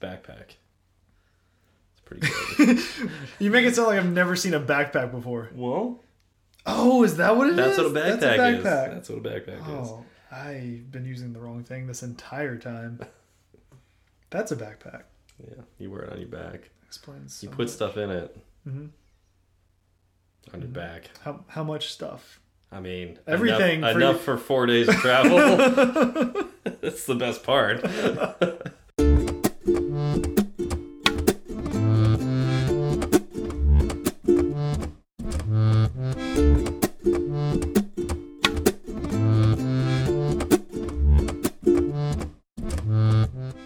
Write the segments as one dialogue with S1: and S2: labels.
S1: backpack. It's pretty good.
S2: You make it sound like I've never seen a backpack before.
S1: well,
S2: Oh, is that what it is?
S1: that's what a backpack,
S2: That's a
S1: is.
S2: backpack.
S1: That's what a backpack is.
S2: Oh, I've been using the wrong thing this entire time. That's a backpack.
S1: Yeah, you wear it on your back.
S2: Explains.
S1: You
S2: so
S1: put
S2: much.
S1: stuff in it
S2: Mhm.
S1: on
S2: Mm-hmm.
S1: your back.
S2: how how much stuff?
S1: I mean,
S2: Everything
S1: enough
S2: for
S1: enough for four days of travel. That's the best part.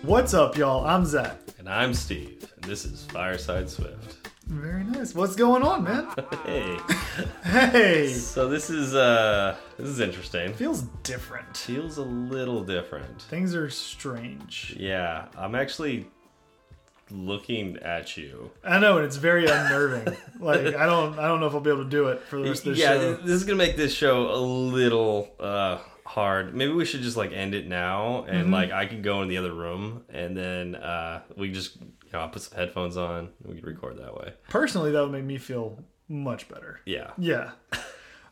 S2: What's up, y'all? I'm Zach.
S1: And I'm Steve, and this is Fireside Swift.
S2: Very nice. What's going on, man?
S1: Hey.
S2: hey,
S1: So this is uh this is interesting.
S2: feels different.
S1: Feels a little different.
S2: Things are strange.
S1: Yeah, I'm actually looking at you.
S2: I know, and it's very unnerving. like I don't I don't know if I'll be able to do it for the rest of the
S1: yeah,
S2: show.
S1: this is gonna make this show a little uh, hard. Maybe we should just like end it now, and like I can go in the other room, and then uh, we just you know I'll put some headphones on, and we can record that way.
S2: Personally, that would make me feel much better.
S1: Yeah,
S2: Yeah.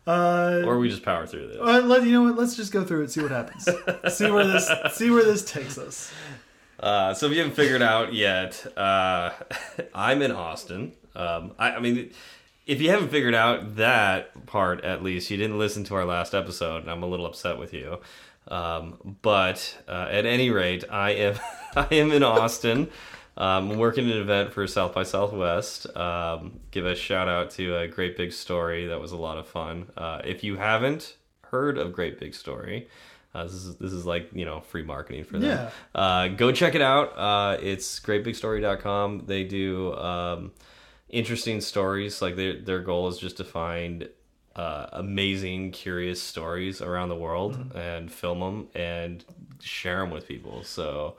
S2: Uh,
S1: or we just power through this.
S2: Uh, let, you know what? Let's just go through it. See what happens. see where this. See where this takes us.
S1: Uh, so if you haven't figured out yet, uh, I'm in Austin. Um, I, I mean, if you haven't figured out that part, at least you didn't listen to our last episode, and I'm a little upset with you. Um, but uh, at any rate, I am I am in Austin. Um, working an event for South by Southwest. Um, give a shout out to a great big story that was a lot of fun. Uh, if you haven't heard of Great Big Story, uh, this is this is like you know free marketing for them.
S2: Yeah.
S1: Uh, go check it out. Uh, it's greatbigstory.com. They do um, interesting stories. Like their their goal is just to find uh, amazing, curious stories around the world and film them and share them with people. So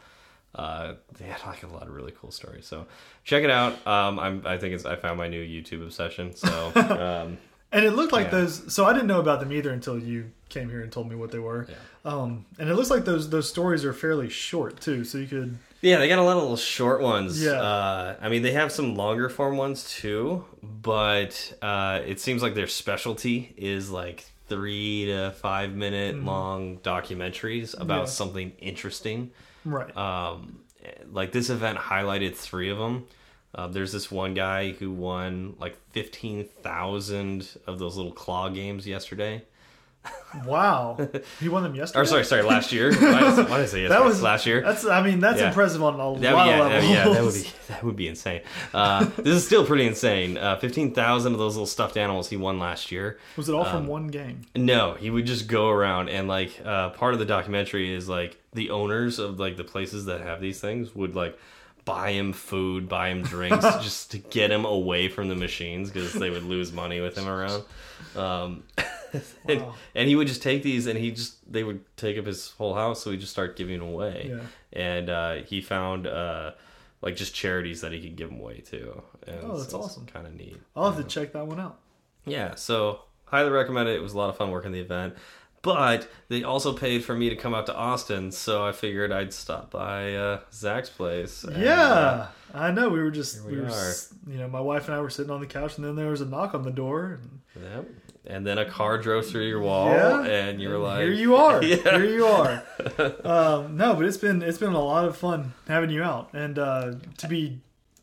S1: uh, they had like a lot of really cool stories. So check it out. Um, I'm I think it's I found my new YouTube obsession. So um,
S2: And it looked like
S1: Yeah.
S2: those. So I didn't know about them either until you came here and told me what they were. Um, and it looks like those those stories are fairly short too. So you could.
S1: Yeah, they got a lot of little short ones.
S2: Yeah.
S1: Uh, I mean, they have some longer form ones too, but uh, it seems like their specialty is like three to five minute long documentaries about
S2: Mm-hmm. Yeah.
S1: something interesting.
S2: Right.
S1: Um, like this event highlighted three of them. Uh, there's this one guy who won like 15,000 of those little claw games yesterday.
S2: wow. He won them yesterday.
S1: Or sorry, sorry, last year. why, did, why did I say yesterday? last year.
S2: That's. I mean, that's
S1: Yeah.
S2: impressive on a
S1: That,
S2: lot
S1: yeah,
S2: of
S1: that-
S2: levels.
S1: yeah, that would be that would be insane. Uh, this is still pretty insane. Uh, Fifteen thousand of those little stuffed animals he won last year.
S2: Was it all
S1: Um,
S2: from one game?
S1: No, he would just go around and like uh, part of the documentary is like the owners of like the places that have these things would like buy him food, buy him drinks, just to get him away from the machines because they would lose money with him around. Um, and,
S2: Wow.
S1: and he would just take these and he just they would take up his whole house, so he would just start giving away.
S2: Yeah.
S1: And uh, he found uh, like just charities that he could give them away to. And
S2: Oh, that's awesome.
S1: Kind of neat.
S2: I'll have to check that one out.
S1: Yeah, so highly recommend it. It was a lot of fun working the event. But they also paid for me to come out to Austin, so I figured I'd stop by uh, Zach's place. and, uh,
S2: Yeah, I know. We were just,
S1: we
S2: we were,
S1: are.
S2: s- you know, my wife and I were sitting on the couch, and then there was a knock on the door, and
S1: yeah. And then a car drove through your wall,
S2: Yeah,
S1: and you were like,
S2: here you are,
S1: Yeah.
S2: here you are. um, no, but it's been it's been a lot of fun having you out, and uh, to be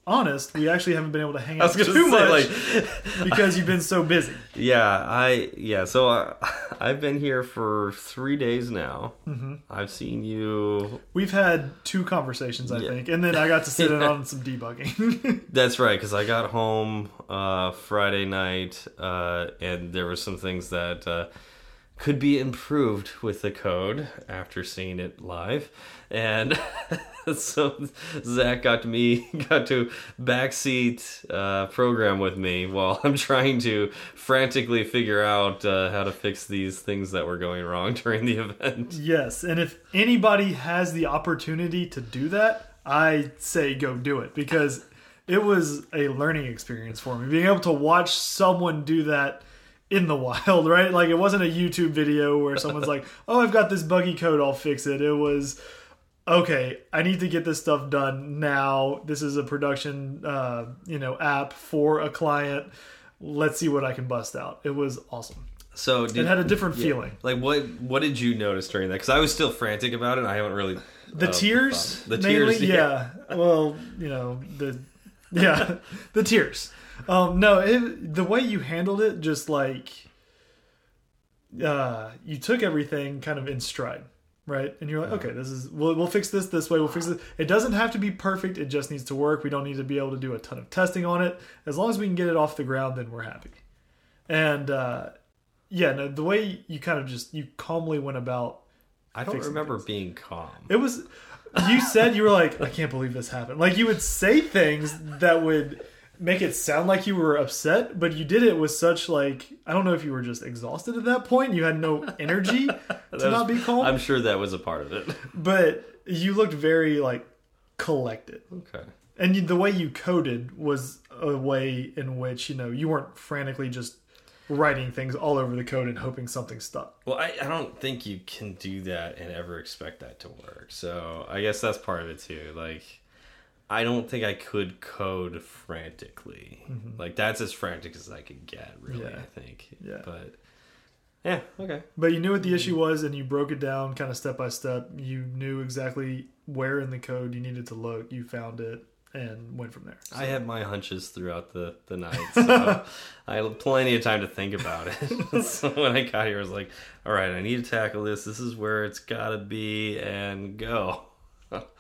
S2: honest, we actually haven't been able to hang
S1: I
S2: out
S1: was
S2: too
S1: gonna say,
S2: much
S1: like,
S2: because you've been so busy.
S1: yeah, I, yeah. So I, I've been here for three days now. Mm-hmm. I've seen you
S2: We've had two conversations, I
S1: Yeah.
S2: think, and then I got to sit in on some debugging.
S1: That's right, because I got home uh, Friday night, uh, and there were some things that uh, could be improved with the code after seeing it live, and so Zach got me got to backseat uh, program with me while I'm trying to frantically figure out uh, how to fix these things that were going wrong during the event.
S2: yes, and if anybody has the opportunity to do that, I say go do it because it was a learning experience for me. Being able to watch someone do that in the wild, right? Like it wasn't a YouTube video where someone's like, "Oh, I've got this buggy code, I'll fix it." It was okay, I need to get this stuff done now. This is a production, uh, you know, app for a client. Let's see what I can bust out. It was awesome.
S1: So did,
S2: It had a different feeling.
S1: like what what did you notice during that? Because I was still frantic about it. and I haven't really
S2: The
S1: uh,
S2: tears,
S1: thought- The
S2: mainly,
S1: tears,
S2: yeah. Well, you know the, yeah, the tears. Um, no, it, the way you handled it, just like, uh, you took everything kind of in stride, right? And you're like, okay, this is we'll we'll fix this this way. We'll fix it. It doesn't have to be perfect. It just needs to work. We don't need to be able to do a ton of testing on it. As long as we can get it off the ground, then we're happy. And uh, yeah, no, the way you kind of just you calmly went about
S1: I don't
S2: fixing
S1: remember being calm.
S2: it was. You said you were like, I can't believe this happened. Like you would say things that would make it sound like you were upset, but you did it with such like I don't know if you were just exhausted at that point. You had no energy to not be calm,
S1: I'm sure that was a part of it.
S2: but you looked very like collected.
S1: Okay.
S2: And you, the way you coded was a way in which you know you weren't frantically just writing things all over the code and hoping something stuck.
S1: Well, I, I don't think you can do that and ever expect that to work. So I guess that's part of it too. Like, I don't think I could code frantically. Like that's as frantic as I could get, really.
S2: Mm-hmm. Yeah.
S1: I think.
S2: Yeah.
S1: But yeah, okay.
S2: But you knew
S1: Mm-hmm.
S2: what the issue was and you broke it down kind of step by step. You knew exactly where in the code you needed to look. You found it and went from there.
S1: I had my hunches throughout the the night, so I had plenty of time to think about it. so when I got here, I was like, "All right, I need to tackle this. This is where it's gotta be, and go."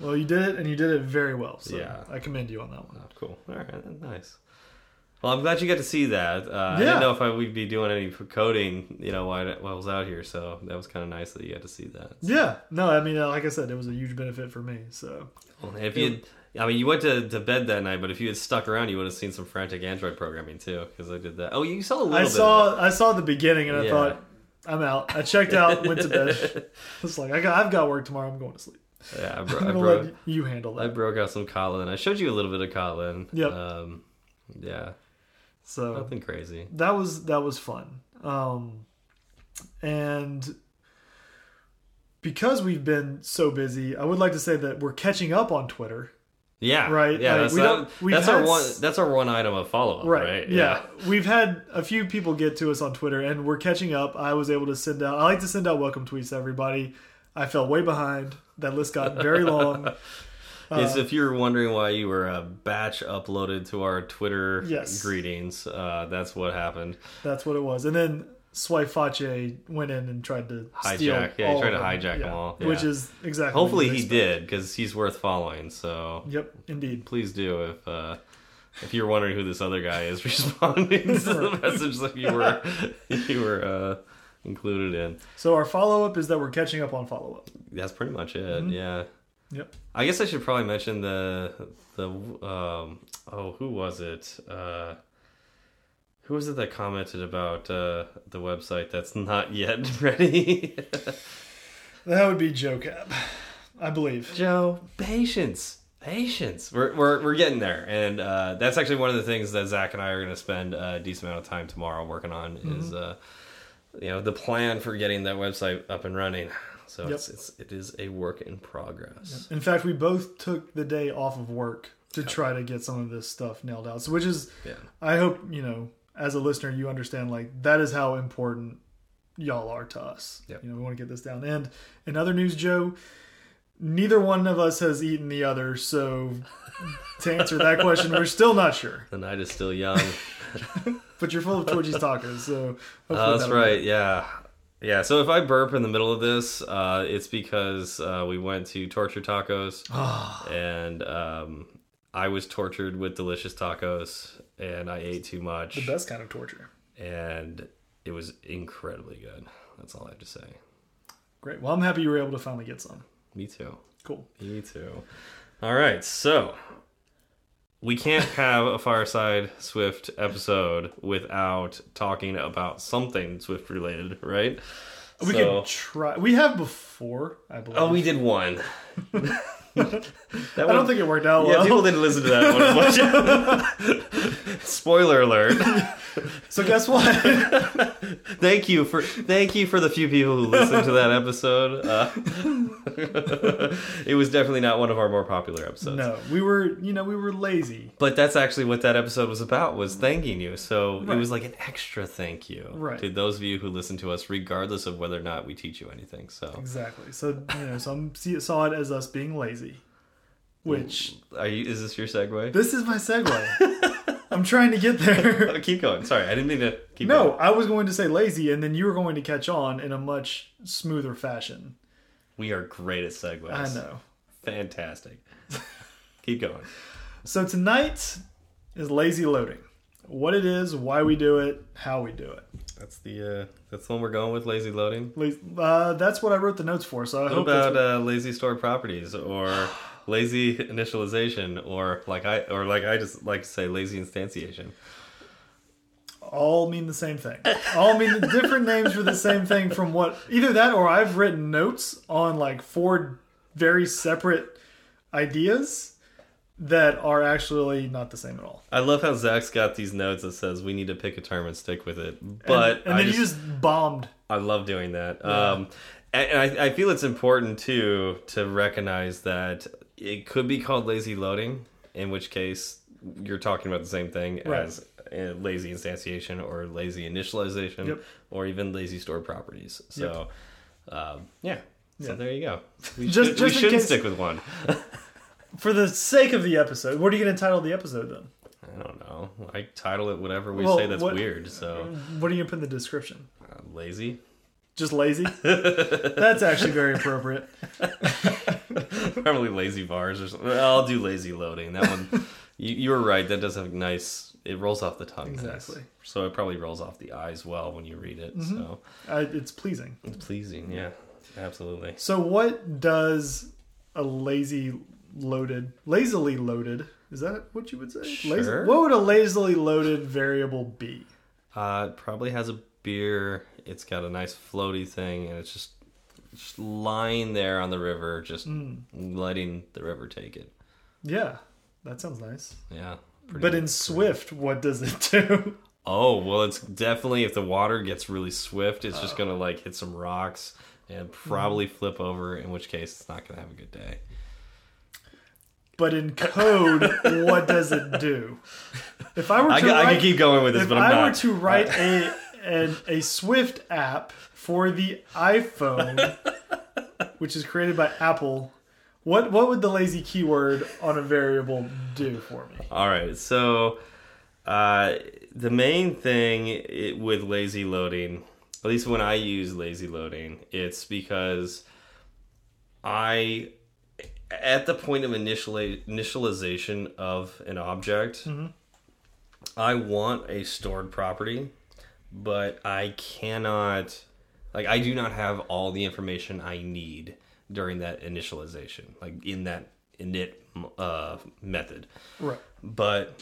S2: Well, you did it and you did it very well. So
S1: Yeah.
S2: I commend you on that one.
S1: Oh, cool. All right, nice. Well, I'm glad you got to see that. Uh, I
S2: Yeah.
S1: didn't know if I would be doing any coding, you know, while I, while I was out here. So that was kind of nice that you got to see that.
S2: Yeah. No, I mean, uh, like I said, it was a huge benefit for me. So
S1: Well, If you, I mean, you went to, to bed that night, but if you had stuck around, you would have seen some frantic Android programming too, because I did that. Oh, you saw a little
S2: I
S1: bit. Of
S2: saw I saw the beginning and I
S1: Yeah.
S2: thought, I'm out. I checked out, went to bed. It's like, I got, I've got work tomorrow. I'm going to sleep.
S1: it. Yeah, I, bro-
S2: I'm
S1: I,
S2: going to
S1: broke,
S2: let you handle
S1: I
S2: that.
S1: broke out some Kotlin. I showed you a little bit of Kotlin.
S2: Yep.
S1: Um, yeah,
S2: So
S1: nothing crazy.
S2: that was that was fun um and because we've been so busy i would like to say that we're catching up on twitter
S1: Yeah.
S2: Right,
S1: Yeah.
S2: like,
S1: that's
S2: we
S1: that-
S2: don't- we've
S1: that's our
S2: had
S1: one.
S2: s-
S1: That's our one item of follow up. Right.
S2: yeah. we've had a few people get to us on twitter and we're catching up i was able to send out i like to send out welcome tweets to everybody i fell way behind that list got very long Uh,
S1: Is if you're wondering why you were a batch uploaded to our Twitter
S2: Yes.
S1: greetings, uh, that's what happened.
S2: that's what it was and then swipe Fache went in and tried to steal
S1: Hijack. Yeah, he
S2: all
S1: tried
S2: of
S1: to
S2: them.
S1: hijack
S2: Yeah,
S1: them all. Yeah.
S2: which is exactly what
S1: Hopefully
S2: you'd
S1: he
S2: expect.
S1: did because he's worth following. So
S2: yep indeed
S1: please do if uh, if you're wondering who this other guy is responding to the message that you were you were uh, included in.
S2: so our follow-up is that we're catching up on follow-up
S1: That's pretty much it. Yeah.
S2: Yep.
S1: I guess I should probably mention the the um oh who was it uh who was it that commented about uh the website that's not yet ready
S2: That would be Joe Cab, I believe.
S1: Joe patience patience we're we're we're getting there and uh that's actually one of the things that Zach and I are going to spend a decent amount of time tomorrow working on is uh you know the plan for getting that website up and running so it's, it's it is a work in progress.
S2: In fact, we both took the day off of work to try to get some of this stuff nailed out. So, which is,
S1: Yeah.
S2: I hope you know, as a listener, you understand like that is how important y'all are to us.
S1: Yep.
S2: You know, we want to get this down. And in other news, Joe, neither one of us has eaten the other. So, to answer that question, we're still not sure.
S1: The night is still young.
S2: But you're full of Torchy's tacos, so hopefully
S1: Oh, that's
S2: that'll-
S1: right. Yeah. Yeah. So if I burp in the middle of this, uh, it's because uh, we went to Torture Tacos
S2: Ah.
S1: and um, I was tortured with delicious tacos and I ate too
S2: The
S1: much
S2: best kind of torture.
S1: and it was incredibly good. That's all I have to say.
S2: Great. Well, I'm happy you were able to finally get some.
S1: Me too.
S2: Cool.
S1: Me too. All right. So we can't have a Fireside Swift episode without talking about something Swift related, right?
S2: We
S1: So-
S2: could try. We have before, I believe.
S1: Oh, we did one. That
S2: I don't
S1: one-
S2: think it worked out
S1: Yeah,
S2: well.
S1: people didn't listen to that one as much. Spoiler alert.
S2: so guess what?
S1: Thank you for thank you for the few people who listened to that episode. Uh, it was definitely not one of our more popular episodes.
S2: no, we were you know we were lazy.
S1: But that's actually what that episode was about was thanking you. So
S2: Right.
S1: it was like an extra thank you
S2: Right.
S1: to those of you who listen to us, regardless of whether or not we teach you anything. So
S2: Exactly. So you know some see it, saw it as us being lazy, which
S1: are you? Is this your segue?
S2: this is my segue. I'm trying to get there.
S1: Oh, keep going. Sorry, I didn't mean to keep.
S2: No,
S1: going.
S2: I was going to say lazy, and then you were going to catch on in a much smoother fashion.
S1: we are great at segues.
S2: I know.
S1: Fantastic. keep going.
S2: So tonight is lazy loading. What it is, why we do it, how we do it.
S1: That's the uh, that's the one we're going with. Lazy loading.
S2: La- Uh, that's what I wrote the notes for. So I
S1: What
S2: hope Oh, that's
S1: about uh, lazy store properties or lazy initialization or like I or like I just like to say lazy instantiation?
S2: all mean the same thing. All mean different names for the same thing from what either that or I've written notes on like four very separate ideas that are actually not the same at all.
S1: I love how Zach's got these notes that says we need to pick a term and stick with it. But
S2: and, and
S1: I
S2: then
S1: just,
S2: you just bombed.
S1: I love doing that. Um, and and I, I feel it's important too to recognize that it could be called lazy loading, in which case you're talking about the same thing
S2: Right.
S1: as uh, lazy instantiation or lazy initialization
S2: Yep.
S1: or even lazy store properties. So, um, yeah. So
S2: Yeah.
S1: there you go. We
S2: Just-
S1: should,
S2: just in
S1: we should
S2: case-
S1: stick with one.
S2: For the sake of the episode, what are you going to title the episode then?
S1: I don't know. I title it whatever we
S2: Well,
S1: say that's
S2: what-
S1: weird. So
S2: What are you going to put in the description?
S1: uh, lazy.
S2: Just lazy? That's actually very appropriate.
S1: Probably lazy bars or something. I'll do lazy loading. That one, you, you were right. That does have nice. It rolls off the tongue. nice.
S2: Exactly.
S1: So it probably rolls off the eye as well when you read it. So
S2: I, it's pleasing.
S1: it's pleasing. Yeah, absolutely.
S2: So what does a lazy loaded lazily loaded is that what you would say?
S1: Sure.
S2: what would a lazily loaded variable be?
S1: Uh, it probably has a beer. It's got a nice floaty thing, and it's just just lying there on the river, just letting the river take it.
S2: Yeah, that sounds nice.
S1: Yeah. Pretty
S2: But in Swift, what does it do?
S1: Oh, well, it's definitely if the water gets really swift, it's
S2: Oh.
S1: just going to like hit some rocks and probably
S2: Mm.
S1: flip over, in which case it's not going to have a good day.
S2: But in code, what does it do? If I were to
S1: I, ca- I
S2: write,
S1: can keep going with this,
S2: if
S1: but I'm
S2: I
S1: not. Uh,
S2: were to write a an, a Swift app for the iPhone, which is created by Apple, what what would the lazy keyword on a variable do for me?
S1: All right. So, uh, the main thing i with lazy loading, at least when I use lazy loading, it's because I, at the point of initiali- initialization of an object, I want a stored property, but I cannot, like, I do not have all the information I need during that initialization, like in that init uh, method
S2: Right.
S1: but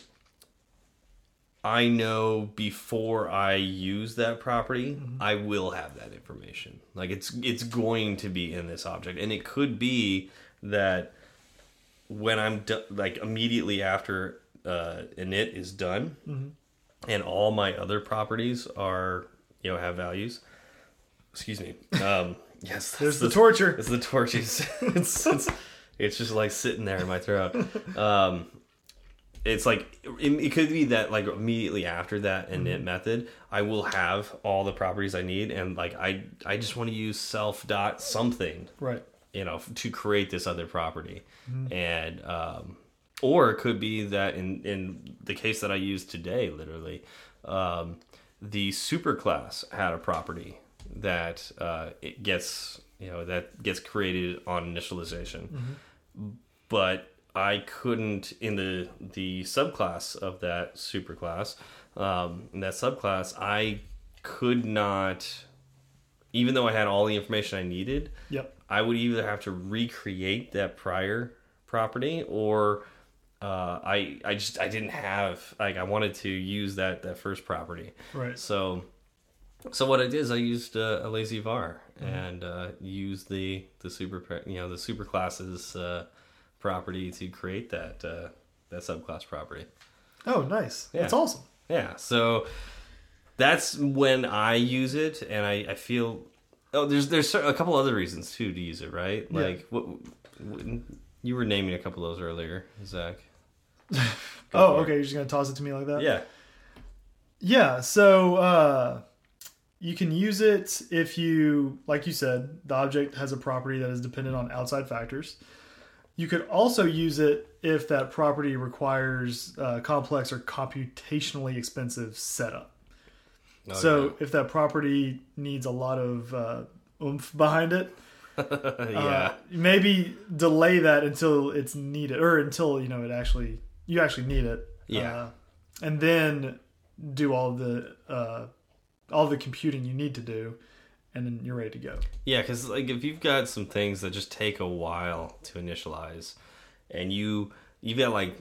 S1: I know before I use that property,
S2: Mm-hmm.
S1: I will have that information. Like it's it's going to be in this object, and it could be that when I'm do- like immediately after uh, init is done,
S2: Mm-hmm.
S1: and all my other properties are you know have values. Excuse me. Um, yes, that's
S2: There's the
S1: the-
S2: torture.
S1: it's the torches. it's, it's it's just like sitting there in my throat. Um, it's like it, it could be that like immediately after that init method, I will have all the properties I need, and like I I just want to use self dot something
S2: Right.
S1: you know f- to create this other property and um or it could be that in in the case that i used today literally um the superclass had a property that uh it gets you know that gets created on initialization but I couldn't in the the subclass of that superclass. Um, in that subclass, I could not, even though I had all the information I needed.
S2: Yep.
S1: I would either have to recreate that prior property, or uh, I I just I didn't have like I wanted to use that that first property.
S2: Right.
S1: So, so what I did is I used uh, a lazy var and uh, used the the super you know the super classes uh, property to create that uh, that subclass property.
S2: Oh, nice.
S1: Yeah.
S2: That's awesome.
S1: Yeah, so that's when I use it, and I, I feel oh, there's there's cer- a couple other reasons too to use it, right?
S2: Yeah.
S1: Like what, what you were naming a couple of those earlier, Zach.
S2: oh,
S1: for it.
S2: okay. You're just gonna toss it to me like that.
S1: Yeah,
S2: Yeah, so uh, you can use it if you, like you said, the object has a property that is dependent on outside factors. You could also use it if that property requires uh, complex or computationally expensive setup.
S1: Oh,
S2: so if that property needs a lot of uh, oomph behind it,
S1: Oh, yeah,
S2: uh,
S1: yeah.
S2: maybe delay that until it's needed or until you know it actually you actually need it
S1: Yeah.
S2: Uh, and then do all the uh all the computing you need to do and then you're ready to go
S1: Yeah, because like if you've got some things that just take a while to initialize, and you you've got like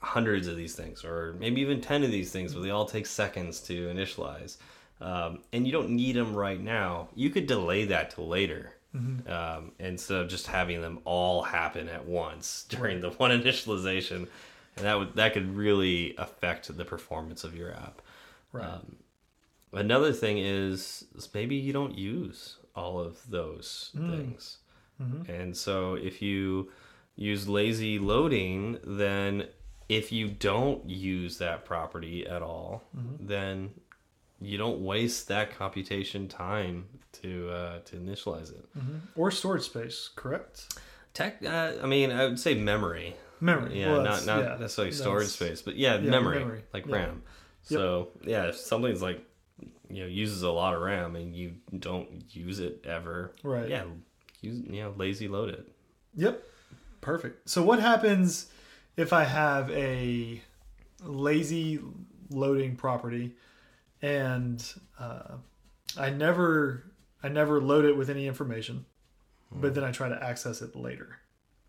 S1: hundreds of these things, or maybe even ten of these things, but they all take seconds to initialize, um, and you don't need them right now. You could delay that till later. Um, instead of just having them all happen at once during the one initialization, and that would that could really affect the performance of your app.
S2: right
S1: Another thing is, is maybe you don't use all of those things. And so if you use lazy loading, then if you don't use that property at all, then you don't waste that computation time to uh, to initialize it.
S2: or storage space correct
S1: Tech, uh, I mean, I would say memory.
S2: memory
S1: Yeah,
S2: Well,
S1: not
S2: that's-
S1: not
S2: yeah,
S1: necessarily
S2: that's-
S1: storage space, but yeah,
S2: yeah,
S1: memory,
S2: memory.
S1: like
S2: Yeah.
S1: RAM. So yeah, if something's like you know uses a lot of RAM and you don't use it ever,
S2: Right.
S1: Yeah, use you know lazy load it.
S2: yep perfect so what happens if i have a lazy loading property and uh, I never I never load it with any information,
S1: Hmm.
S2: but then I try to access it later.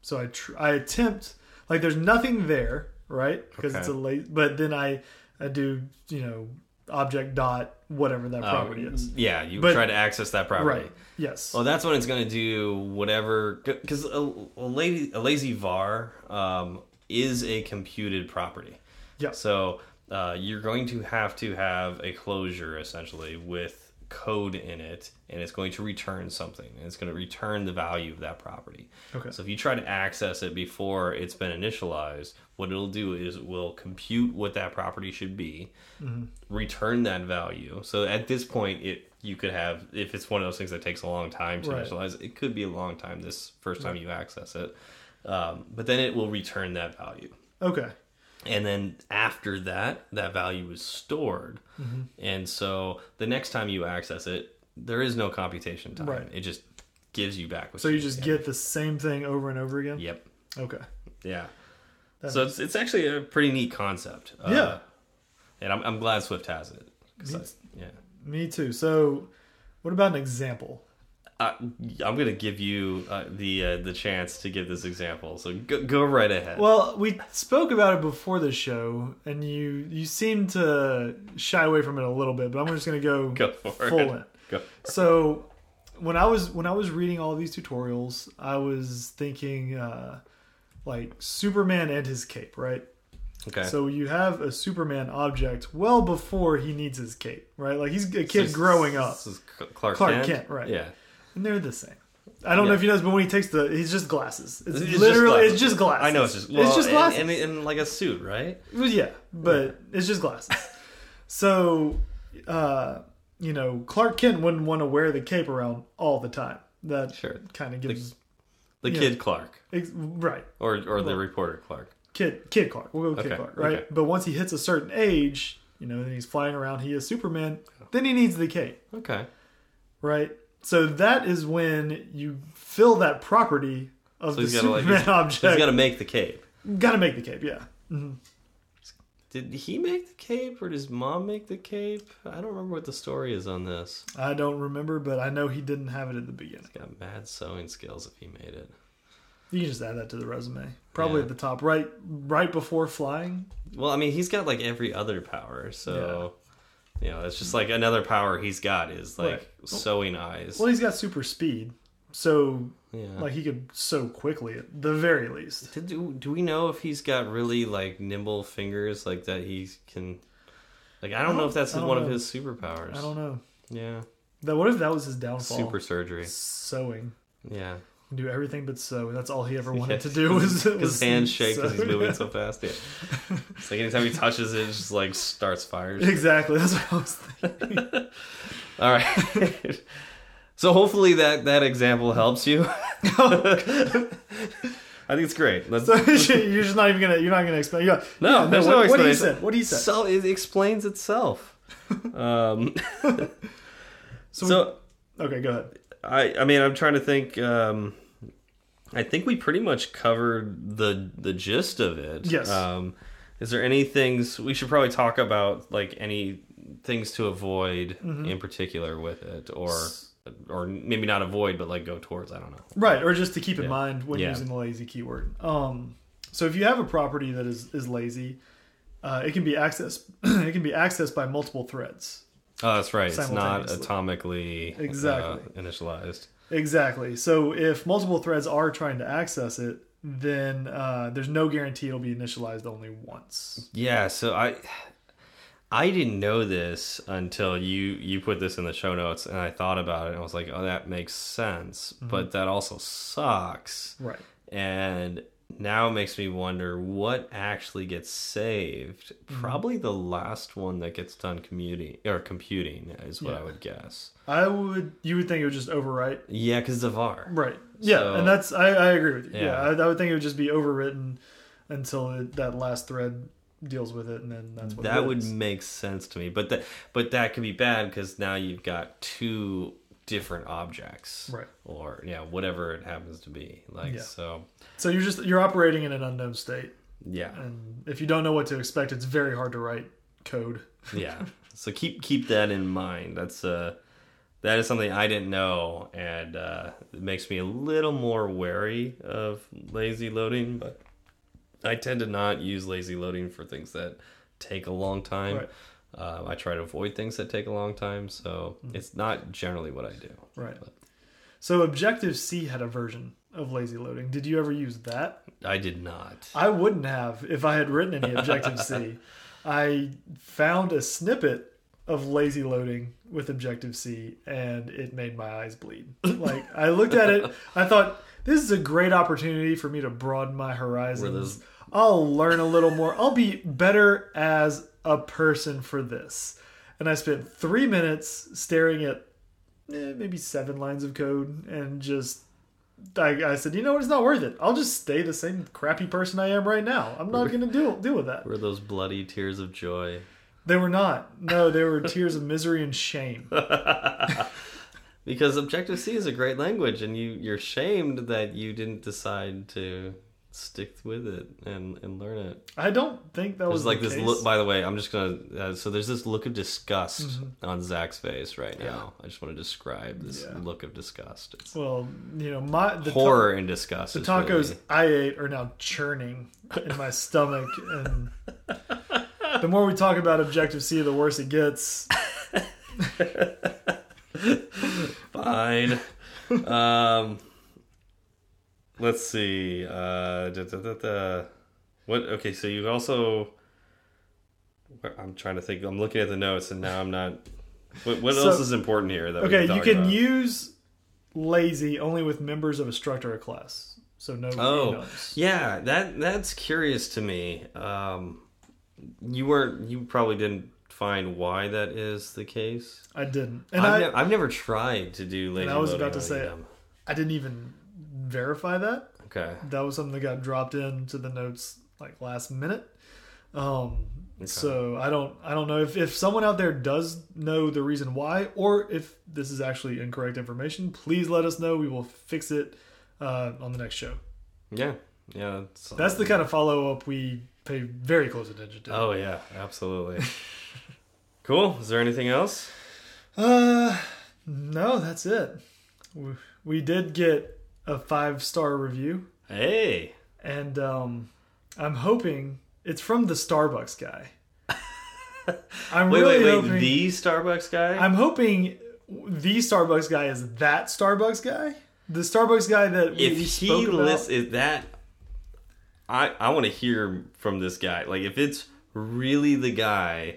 S2: So I tr- I attempt like there's nothing there, right? Because it's a
S1: Okay.
S2: late. But then I I do you know object dot whatever that
S1: Uh,
S2: property is.
S1: Yeah, you
S2: But-
S1: try to access that property.
S2: Right. Yes.
S1: Well, that's when it's going to do whatever because a, a lazy a lazy var um, is a computed property.
S2: Yeah.
S1: So uh, you're going to have to have a closure essentially with code in it, and it's going to return something, and it's going to return the value of that property.
S2: Okay.
S1: So if you try to access it before it's been initialized, what it'll do is it will compute what that property should be,
S2: Mm-hmm.
S1: return that value. So at this point, it you could have if it's one of those things that takes a long time to
S2: Right.
S1: initialize, it could be a long time this first time you access it, um, but then it will return that value
S2: Okay.
S1: and then after that that value is stored
S2: Mm-hmm.
S1: and so the next time you access it there is no computation time
S2: Right.
S1: it just gives you back what
S2: So you just get the same thing over and over again.
S1: yep
S2: Okay.
S1: yeah so it's, it's actually a pretty neat concept Uh,
S2: Yeah.
S1: and I'm, I'm glad swift has it 'Cause I- yeah
S2: Me too. So, what about an example?
S1: I, Uh, i'm gonna give you uh, the uh, the chance to give this example so go, go right ahead
S2: Well, we spoke about it before the show, and you you seemed to shy away from it a little bit, but I'm just gonna go,
S1: go for
S2: full
S1: it
S2: in.
S1: go
S2: So when I was when I was reading all these tutorials, I was thinking uh, like Superman and his cape, right?
S1: okay
S2: So you have a Superman object well before he needs his cape, right? Like he's a kid growing up,
S1: this is clark,
S2: Clark
S1: kent?
S2: Kent, right.
S1: yeah
S2: and they're the same. I don't know
S1: Yeah.
S2: if you noticed, but when he takes the, he's just glasses. It's,
S1: It's just
S2: literally,
S1: glasses.
S2: it's just glasses.
S1: I know it's just well,
S2: it's just
S1: and-
S2: glasses.
S1: and, and like a suit, right?
S2: Well, yeah, but it's just glasses. so, uh, you know, Clark Kent wouldn't want to wear the cape around all the time. That
S1: Sure.
S2: kind of gives
S1: The
S2: Yeah.
S1: kid Clark
S2: ex- right
S1: or or the reporter Clark.
S2: kid kid Clark. We'll go with kid
S1: Okay,
S2: Clark, right?
S1: okay.
S2: But once he hits a certain age, you know, then he's flying around. He is Superman. Then he needs the cape,
S1: Okay.
S2: right? So that is when you fill that property of the
S1: he's gotta, like,
S2: Superman
S1: he's- He's
S2: object.
S1: got
S2: gotta,
S1: to make the cape.
S2: make the cape, yeah.
S1: Did he make the cape or does mom make the cape? I don't remember what the story is on this.
S2: I don't remember, but I know he didn't have it at the beginning.
S1: He's got mad sewing skills if he made it.
S2: You can just add that to the resume. Probably
S1: Yeah.
S2: at the top, right, right before flying.
S1: Well, I mean, he's got like every other power, so you know, it's just like another power he's got is like
S2: Right.
S1: sewing eyes.
S2: Well, he's got super speed, so
S1: Yeah.
S2: Like he could so quickly at the very least.
S1: Did- do, do we know if he's got really like nimble fingers like that he can like I don't know if that's
S2: I don't
S1: one of
S2: know.
S1: his superpowers.
S2: I don't know.
S1: Yeah.
S2: That what if that was his downfall?
S1: Super surgery.
S2: sewing.
S1: Yeah.
S2: Do everything but sew. That's all he ever wanted
S1: Yeah.
S2: to do was
S1: His
S2: was
S1: hands shake because he's
S2: sew.
S1: moving so fast. Yeah. It's like anytime he touches it, it just like starts fires.
S2: Exactly. That's what I was thinking.
S1: All right. so hopefully that that example helps you. I think it's great. Let's,
S2: So you're just not even gonna. You're not gonna explain. You're like,
S1: no,
S2: yeah,
S1: there's
S2: what,
S1: no
S2: What he
S1: explanation.
S2: said. What he said. So,
S1: So it explains itself. um,
S2: so,
S1: so
S2: we- okay, go ahead.
S1: I I mean I'm trying to think. Um, I think we pretty much covered the the gist of it.
S2: Yes.
S1: Um, is there any things we should probably talk about, like any things to avoid
S2: Mm-hmm.
S1: in particular with it, or or maybe not avoid, but like go towards? I don't know.
S2: Right, or just to keep in mind when
S1: Yeah.
S2: using the lazy keyword. Um, so if you have a property that is is lazy, uh, it can be accessed. it can be accessed by multiple threads.
S1: Oh, that's right. It's not
S2: Simultaneously.
S1: atomically
S2: Exactly.
S1: uh, initialized.
S2: Exactly. So if multiple threads are trying to access it, then uh, there's no guarantee it'll be initialized only once.
S1: Yeah, so I I didn't know this until you you put this in the show notes and I thought about it and I was like, "Oh, that makes sense, but that also sucks."
S2: Right.
S1: And now it makes me wonder what actually gets saved. Probably the last one that gets done commuting or computing is what I
S2: Yeah.
S1: would guess.
S2: I would. You would think it would just overwrite.
S1: Yeah, cuz the var.
S2: Right. Yeah,
S1: So-
S2: and that's I, I agree with you. Yeah,
S1: Yeah.
S2: I, I would think it would just be overwritten until it, that last thread deals with it, and then that's what
S1: that
S2: it
S1: would
S2: is.
S1: make sense to me but that but that could be bad because now you've got two different objects
S2: Right.
S1: or yeah whatever it happens to be like
S2: Yeah.
S1: so
S2: So you're just you're operating in an unknown state,
S1: yeah
S2: and if you don't know what to expect, it's very hard to write code.
S1: yeah so keep keep that in mind that's uh that is something i didn't know and uh it makes me a little more wary of lazy loading but i tend to not use lazy loading for things that take a long time
S2: Right.
S1: Uh, I try to avoid things that take a long time, so
S2: Mm-hmm.
S1: it's not generally what I do.
S2: Right. So Objective C had a version of lazy loading. Did you ever use that?
S1: I did not.
S2: I wouldn't have if I had written any Objective C. I found a snippet of lazy loading with Objective C and it made my eyes bleed. Like I looked at it, I thought this is a great opportunity for me to broaden my horizons.
S1: those-
S2: I'll learn a little more. I'll be better as a person for this. And I spent 3 minutes staring at eh, maybe 7 lines of code and just I, I said, you know what? It's not worth it. I'll just stay the same crappy person I am right now. I'm not going to deal deal with that.
S1: Were those bloody tears of joy?
S2: They were not. No, they were tears of misery and shame.
S1: Because Objective C is a great language, and you you're shamed that you didn't decide to stick with it and and learn it.
S2: I don't think that was
S1: There's like
S2: the
S1: this
S2: case.
S1: look. By the way, I'm just gonna. Uh, so there's this look of disgust on Zach's face right now. I just want to describe this
S2: Mm-hmm. Yeah.
S1: look of disgust. It's
S2: well, you know, my the ta-
S1: horror and disgust.
S2: the
S1: is
S2: tacos
S1: really-
S2: I ate are now churning in my stomach, and the more we talk about Objective C, the worse it gets.
S1: Fine. um, let's see. Uh, da, da, da, da. What? Okay, so you also. I'm trying to think. I'm looking at the notes, and now I'm not. What, what
S2: So-
S1: else is important here? That we
S2: Okay,
S1: can
S2: you
S1: talk
S2: can
S1: about?
S2: use lazy only with members of a structure or class, so no
S1: Oh,
S2: enums.
S1: yeah. That that's curious to me. Um, you weren't. You probably didn't find why that is the case.
S2: I didn't, and
S1: I've,
S2: I,
S1: ne- I've never tried to do lazy.
S2: I was
S1: loading
S2: about to
S1: on
S2: say-
S1: EM.
S2: I didn't even verify that.
S1: Okay.
S2: that was something that got dropped into the notes like last minute. Um, So I don't I don't know if, if someone out there does know the reason why or if this is actually incorrect information. Please let us know. We will fix it uh, on the next show.
S1: Yeah. Yeah. That's,
S2: That's the kind of follow up we pay very close attention to.
S1: Oh yeah, absolutely. cool. Is there anything else?
S2: Uh, no, that's it. We, we did get a five star review,
S1: Hey.
S2: and um, I'm hoping it's from the Starbucks guy. I'm
S1: Wait,
S2: really
S1: wait,
S2: hoping.
S1: wait. The Starbucks guy?
S2: I'm hoping the Starbucks guy is that Starbucks guy the Starbucks guy that we,
S1: if
S2: we
S1: he
S2: spoke about.
S1: lists is that i i want to hear from this guy like if it's really the guy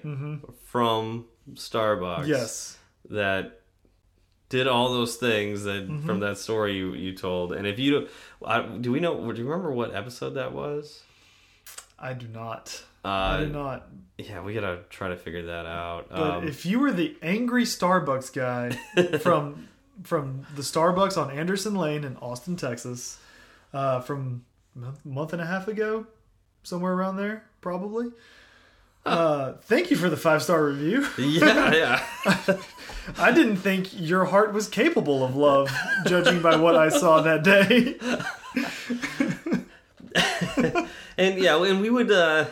S1: from starbucks
S2: Mm-hmm. yes,
S1: that did all those things that
S2: Mm-hmm.
S1: from that story you, you told and if you don't I, do we know do you remember what episode that was
S2: I do not. I do
S1: uh
S2: not.
S1: yeah we gotta try to figure that out
S2: But
S1: um,
S2: if you were the angry Starbucks guy from from the Starbucks on Anderson Lane in Austin, Texas, uh, from a month- month and a half ago, somewhere around there, probably. Uh, thank you for the five star review.
S1: yeah yeah
S2: I didn't think your heart was capable of love, judging by what I saw that day.
S1: and yeah and we would uh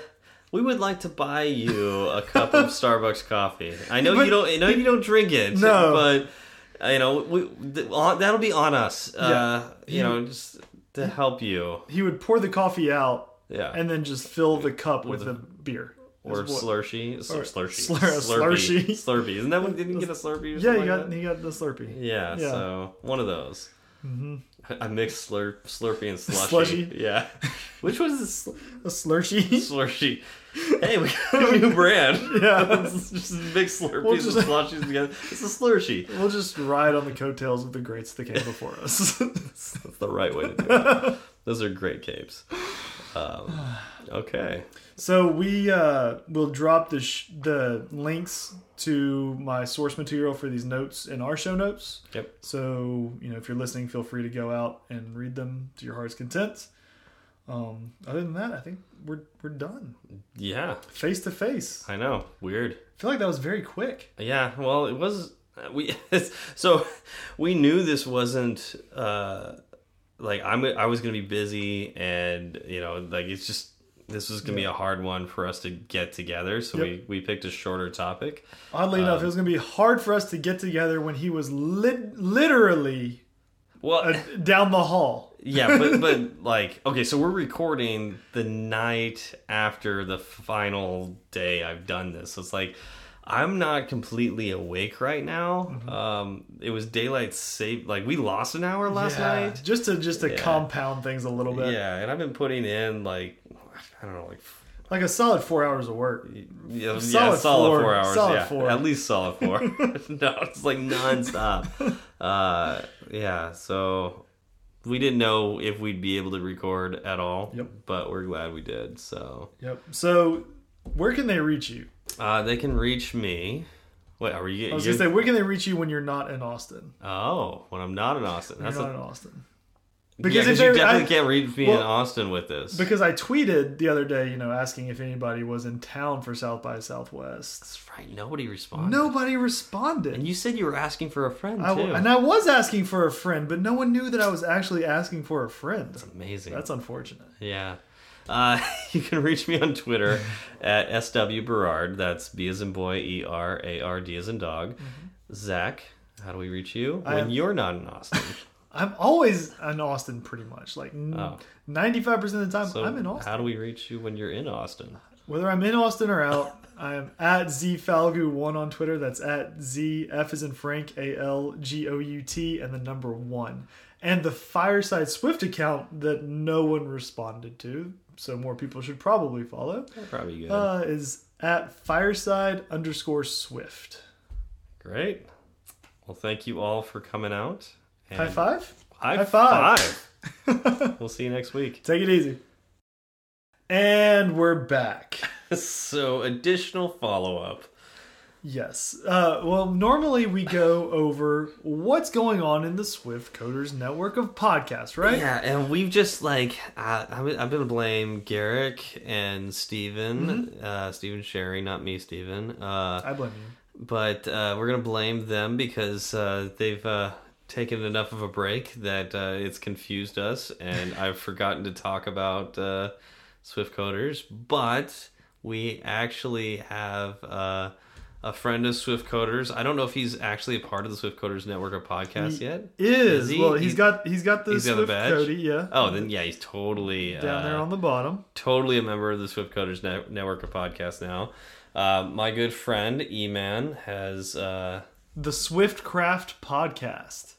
S1: we would like to buy you a cup of Starbucks coffee. I know
S2: But-
S1: you don't. I know you don't drink it.
S2: No.
S1: but uh, you know we, th- on- that'll be on us. Uh, you
S2: You-
S1: know, just to help you.
S2: He would pour the coffee out
S1: Yeah,
S2: and then just fill the cup with a beer.
S1: or
S2: Is what-
S1: Slurshee, slur, Slurshee,
S2: slur-
S1: Slurpee,
S2: Slurshee.
S1: Slurpee. Isn't that what didn't get a Slurpee? Or
S2: Yeah,
S1: something
S2: you
S1: like
S2: got
S1: that?
S2: you got the Slurpee.
S1: Yeah,
S2: yeah.
S1: so one of those. Mm-hmm. I mixed slurp, Slurpee and slushy.
S2: Slushy?
S1: Yeah, which was the sl-
S2: A Slurshee.
S1: Slurshee? Hey, we got a new brand.
S2: yeah.
S1: Let's just mix Slurpees
S2: We'll just-
S1: and slushies together. It's a Slurshee.
S2: We'll just ride on the coattails of the greats that came before us.
S1: That's the right way to do it. Those are great capes. Um, okay.
S2: so we uh, will drop the sh- the links to my source material for these notes in our show notes.
S1: Yep.
S2: So you know, if you're listening, feel free to go out and read them to your heart's content. Um, other than that, I think we're we're done
S1: Yeah,
S2: face to face.
S1: I know. Weird.
S2: I feel like that was very quick.
S1: Yeah. Well, it was uh, we. So we knew this wasn't uh, like I'm. I was gonna be busy, and you know, like it's just this was gonna be a hard one for us to get together. So
S2: Yep.
S1: we we picked a shorter topic.
S2: Oddly enough,
S1: Uh,
S2: it was going to be hard for us to get together when he was lit literally
S1: Well,
S2: uh, down the hall.
S1: yeah, but but like okay, so we're recording the night after the final day I've done this. So it's like I'm not completely awake right now. Um, it was daylight save. Like we lost an hour last
S2: Yeah,
S1: night.
S2: just to just to
S1: Yeah.
S2: compound things a little bit.
S1: Yeah, and I've been putting in like I don't know, like
S2: Like a solid four hours of work.
S1: yeah, solid,
S2: Solid
S1: yeah, solid four,
S2: four.
S1: hours,
S2: Solid
S1: yeah,
S2: four.
S1: at least solid four. no, it's like nonstop. uh, yeah, so we didn't know if we'd be able to record at all.
S2: Yep.
S1: But we're glad we did. So
S2: Yep. So where can they reach you?
S1: uh, they can reach me. Wait, are you?
S2: I was
S1: you
S2: gonna say where can they reach you when you're not in Austin?
S1: oh, when I'm not in Austin,
S2: You're
S1: that's
S2: not
S1: a,
S2: in Austin.
S1: because
S2: Because if
S1: you
S2: they're-
S1: definitely
S2: I-
S1: can't reach me in
S2: well,
S1: Austin with this.
S2: Because I tweeted the other day, you know, asking if anybody was in town for South by Southwest.
S1: that's right. Nobody responded.
S2: Nobody
S1: And
S2: responded.
S1: you said you were asking for a friend too.
S2: I w and I was asking for a friend, but no one knew that I was actually asking for a friend.
S1: Amazing.
S2: That's unfortunate.
S1: Yeah. Uh, you can reach me on Twitter at SW Berard. That's B as in boy, E R A R D as in dog. Zach, how do we reach you?
S2: Mm-hmm. I
S1: when
S2: am-
S1: you're not in Austin.
S2: I'm always in Austin, pretty much. Like ninety-five percent of the time,
S1: Oh. So
S2: I'm in Austin.
S1: How do we reach you when you're in Austin?
S2: Whether I'm in Austin or out, I'm at zfalgu1 on Twitter. That's at zf is in Frank a l g o u t and the number one. And the Fireside Swift account that no one responded to, so more people should probably follow,
S1: Probably good.
S2: uh, is at fireside underscore Swift.
S1: Great. Well, thank you all for coming out. And
S2: High five.
S1: High,
S2: High five.
S1: five. we'll see you next week.
S2: Take it easy. And we're back.
S1: So, additional follow up.
S2: Yes. Uh, well, normally we go over what's going on in the Swift Coders network of podcasts, right?
S1: Yeah, and we've just like uh, I'm, I'm gonna blame Garrick and Steven,
S2: Mm-hmm.
S1: uh, Steven Sherry, not me, Steven. Uh,
S2: I blame you.
S1: but uh, we're gonna blame them because uh, they've uh, taken enough of a break that uh, it's confused us, and I've forgotten to talk about uh, Swift Coders. But we actually have. Uh, a friend of Swift Coders. I don't know if he's actually a part of the Swift Coders network of podcasts yet.
S2: Is,
S1: he?
S2: well,
S1: He's-
S2: he's got he's got the
S1: he's got the
S2: Swift
S1: badge?
S2: Cody, yeah,
S1: Oh, then yeah, he's totally
S2: down
S1: uh,
S2: there on the bottom.
S1: totally a member of the Swift Coders Net- Network of podcasts now. Uh, my good friend E Man has uh,
S2: The Swift Craft podcast.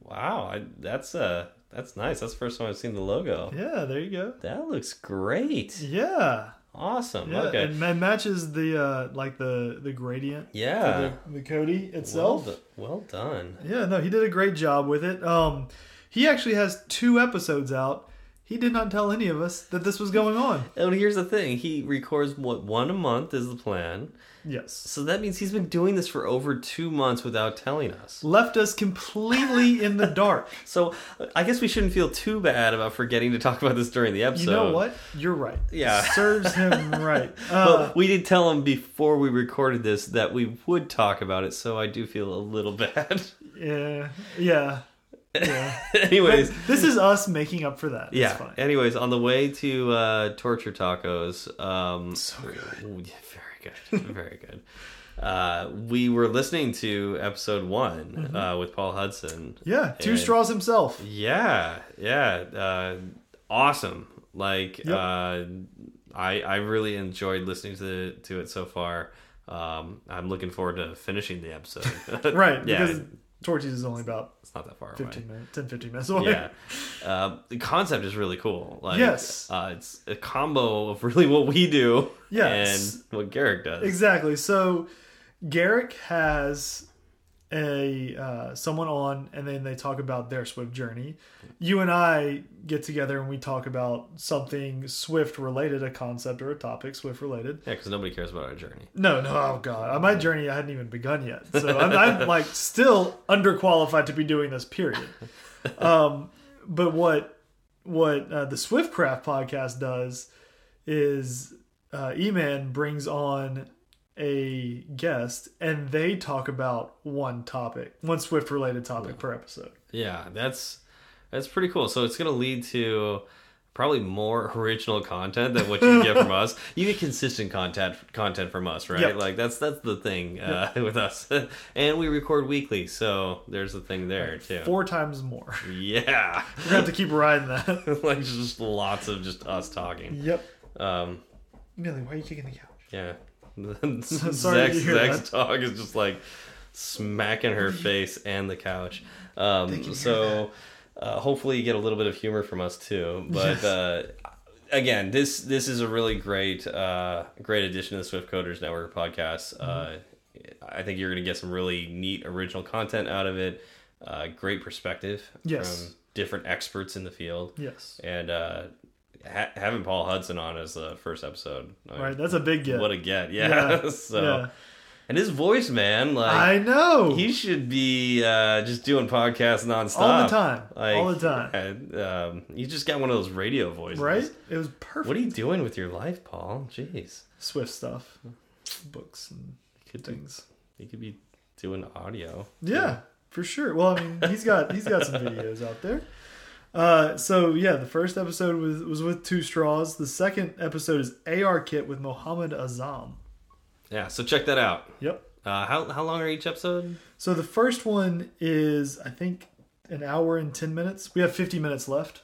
S1: Wow, I, that's uh that's nice. That's the first time I've seen the logo.
S2: Yeah, there you go.
S1: That looks great.
S2: Yeah.
S1: Awesome.
S2: Yeah,
S1: okay.
S2: and that matches the uh like the the gradient uh,
S1: yeah.
S2: the, the Cody
S1: Well,
S2: itself.
S1: do- well done.
S2: Yeah, no, he did a great job with it. Um, he actually has two episodes out. He did not tell any of us that this was going on.
S1: And here's the thing: he records what one a month is the plan.
S2: Yes.
S1: So that means he's been doing this for over two months without telling us.
S2: Left us completely in the dark.
S1: So I guess we shouldn't feel too bad about forgetting to talk about this during the episode.
S2: You know what? You're right.
S1: Yeah.
S2: Serves him right. Uh,
S1: But we did tell him before we recorded this that we would talk about it, so I do feel a little bad.
S2: yeah. Yeah. Yeah.
S1: Anyways,
S2: This is us making up for that.
S1: yeah.
S2: It's fine.
S1: Anyways, on the way to uh, torture tacos, um,
S2: So good.
S1: ooh, yeah, very good, very good. Uh, we were listening to episode one uh, with Paul Hudson.
S2: Mm-hmm. Yeah. Two
S1: And-
S2: straws himself.
S1: Yeah, yeah, uh, awesome. Like,
S2: Yep.
S1: uh, I I really enjoyed listening to to it so far. Um, I'm looking forward to finishing the episode.
S2: Right.
S1: yeah,
S2: Because Torches is only about
S1: it's not that far away.
S2: 15 minutes, 10, 15 minutes away.
S1: Yeah, uh, the concept is really cool. Like,
S2: Yes.
S1: uh, it's a combo of really what we do,
S2: Yes.
S1: and what Garrick does.
S2: Exactly. So Garrick has a uh, someone on, and then they talk about their Swift journey. You and I get together and we talk about something Swift related, a concept or a topic Swift related.
S1: Yeah, because nobody cares about our journey.
S2: No, no, oh god, my journey I hadn't even begun yet, so I'm, I'm like still underqualified to be doing this. Period. Um, but what what uh, the Swiftcraft podcast does is uh, E-Man brings on a guest and they talk about one topic, one Swift related topic per episode.
S1: Yeah, that's that's pretty cool. So it's gonna lead to probably more original content than what you get from us. You get consistent content content from us, right?
S2: Yep.
S1: Like that's that's the thing uh, with us, and we record weekly, so there's a thing there too.
S2: Four times more.
S1: yeah,
S2: We're gonna have to keep riding that.
S1: like just lots of just us talking.
S2: yep.
S1: Um,
S2: Millie, why are you kicking the couch?
S1: yeah,
S2: sorry to
S1: Zach's,
S2: hear
S1: Zach's
S2: that.
S1: dog is just like smacking her face and the couch. Um,
S2: hear
S1: so uh, hopefully you get a little bit of humor from us too. But uh, again, this this is a really great uh, great addition to the Swift Coders Network podcast.
S2: Mm-hmm.
S1: Uh, I think you're going to get some really neat original content out of it. Uh, great perspective
S2: Yes.
S1: from different experts in the field.
S2: Yes.
S1: And uh, ha- having Paul Hudson on as the first episode, I-
S2: Right, that's a big get.
S1: what a get, yeah.
S2: Yeah,
S1: so,
S2: yeah.
S1: and his voice, man, like
S2: I know.
S1: he should be uh, just doing podcasts nonstop
S2: All the time.
S1: Like,
S2: All the time.
S1: yeah, um, you just got one of those radio voices,
S2: Right? It was perfect.
S1: What are you doing with your life, Paul? Jeez,
S2: Swift stuff, books and
S1: could do,
S2: things.
S1: you could be doing audio.
S2: Yeah, for sure. Well, I mean, he's got he's got some videos out there. Uh, so yeah, the first episode was was with Two Straws. The second episode is AR Kit with Mohammed Azam.
S1: Yeah, so check that out.
S2: Yep.
S1: Uh, how how long are each episode?
S2: So the first one is I think an hour and ten minutes. We have fifty minutes left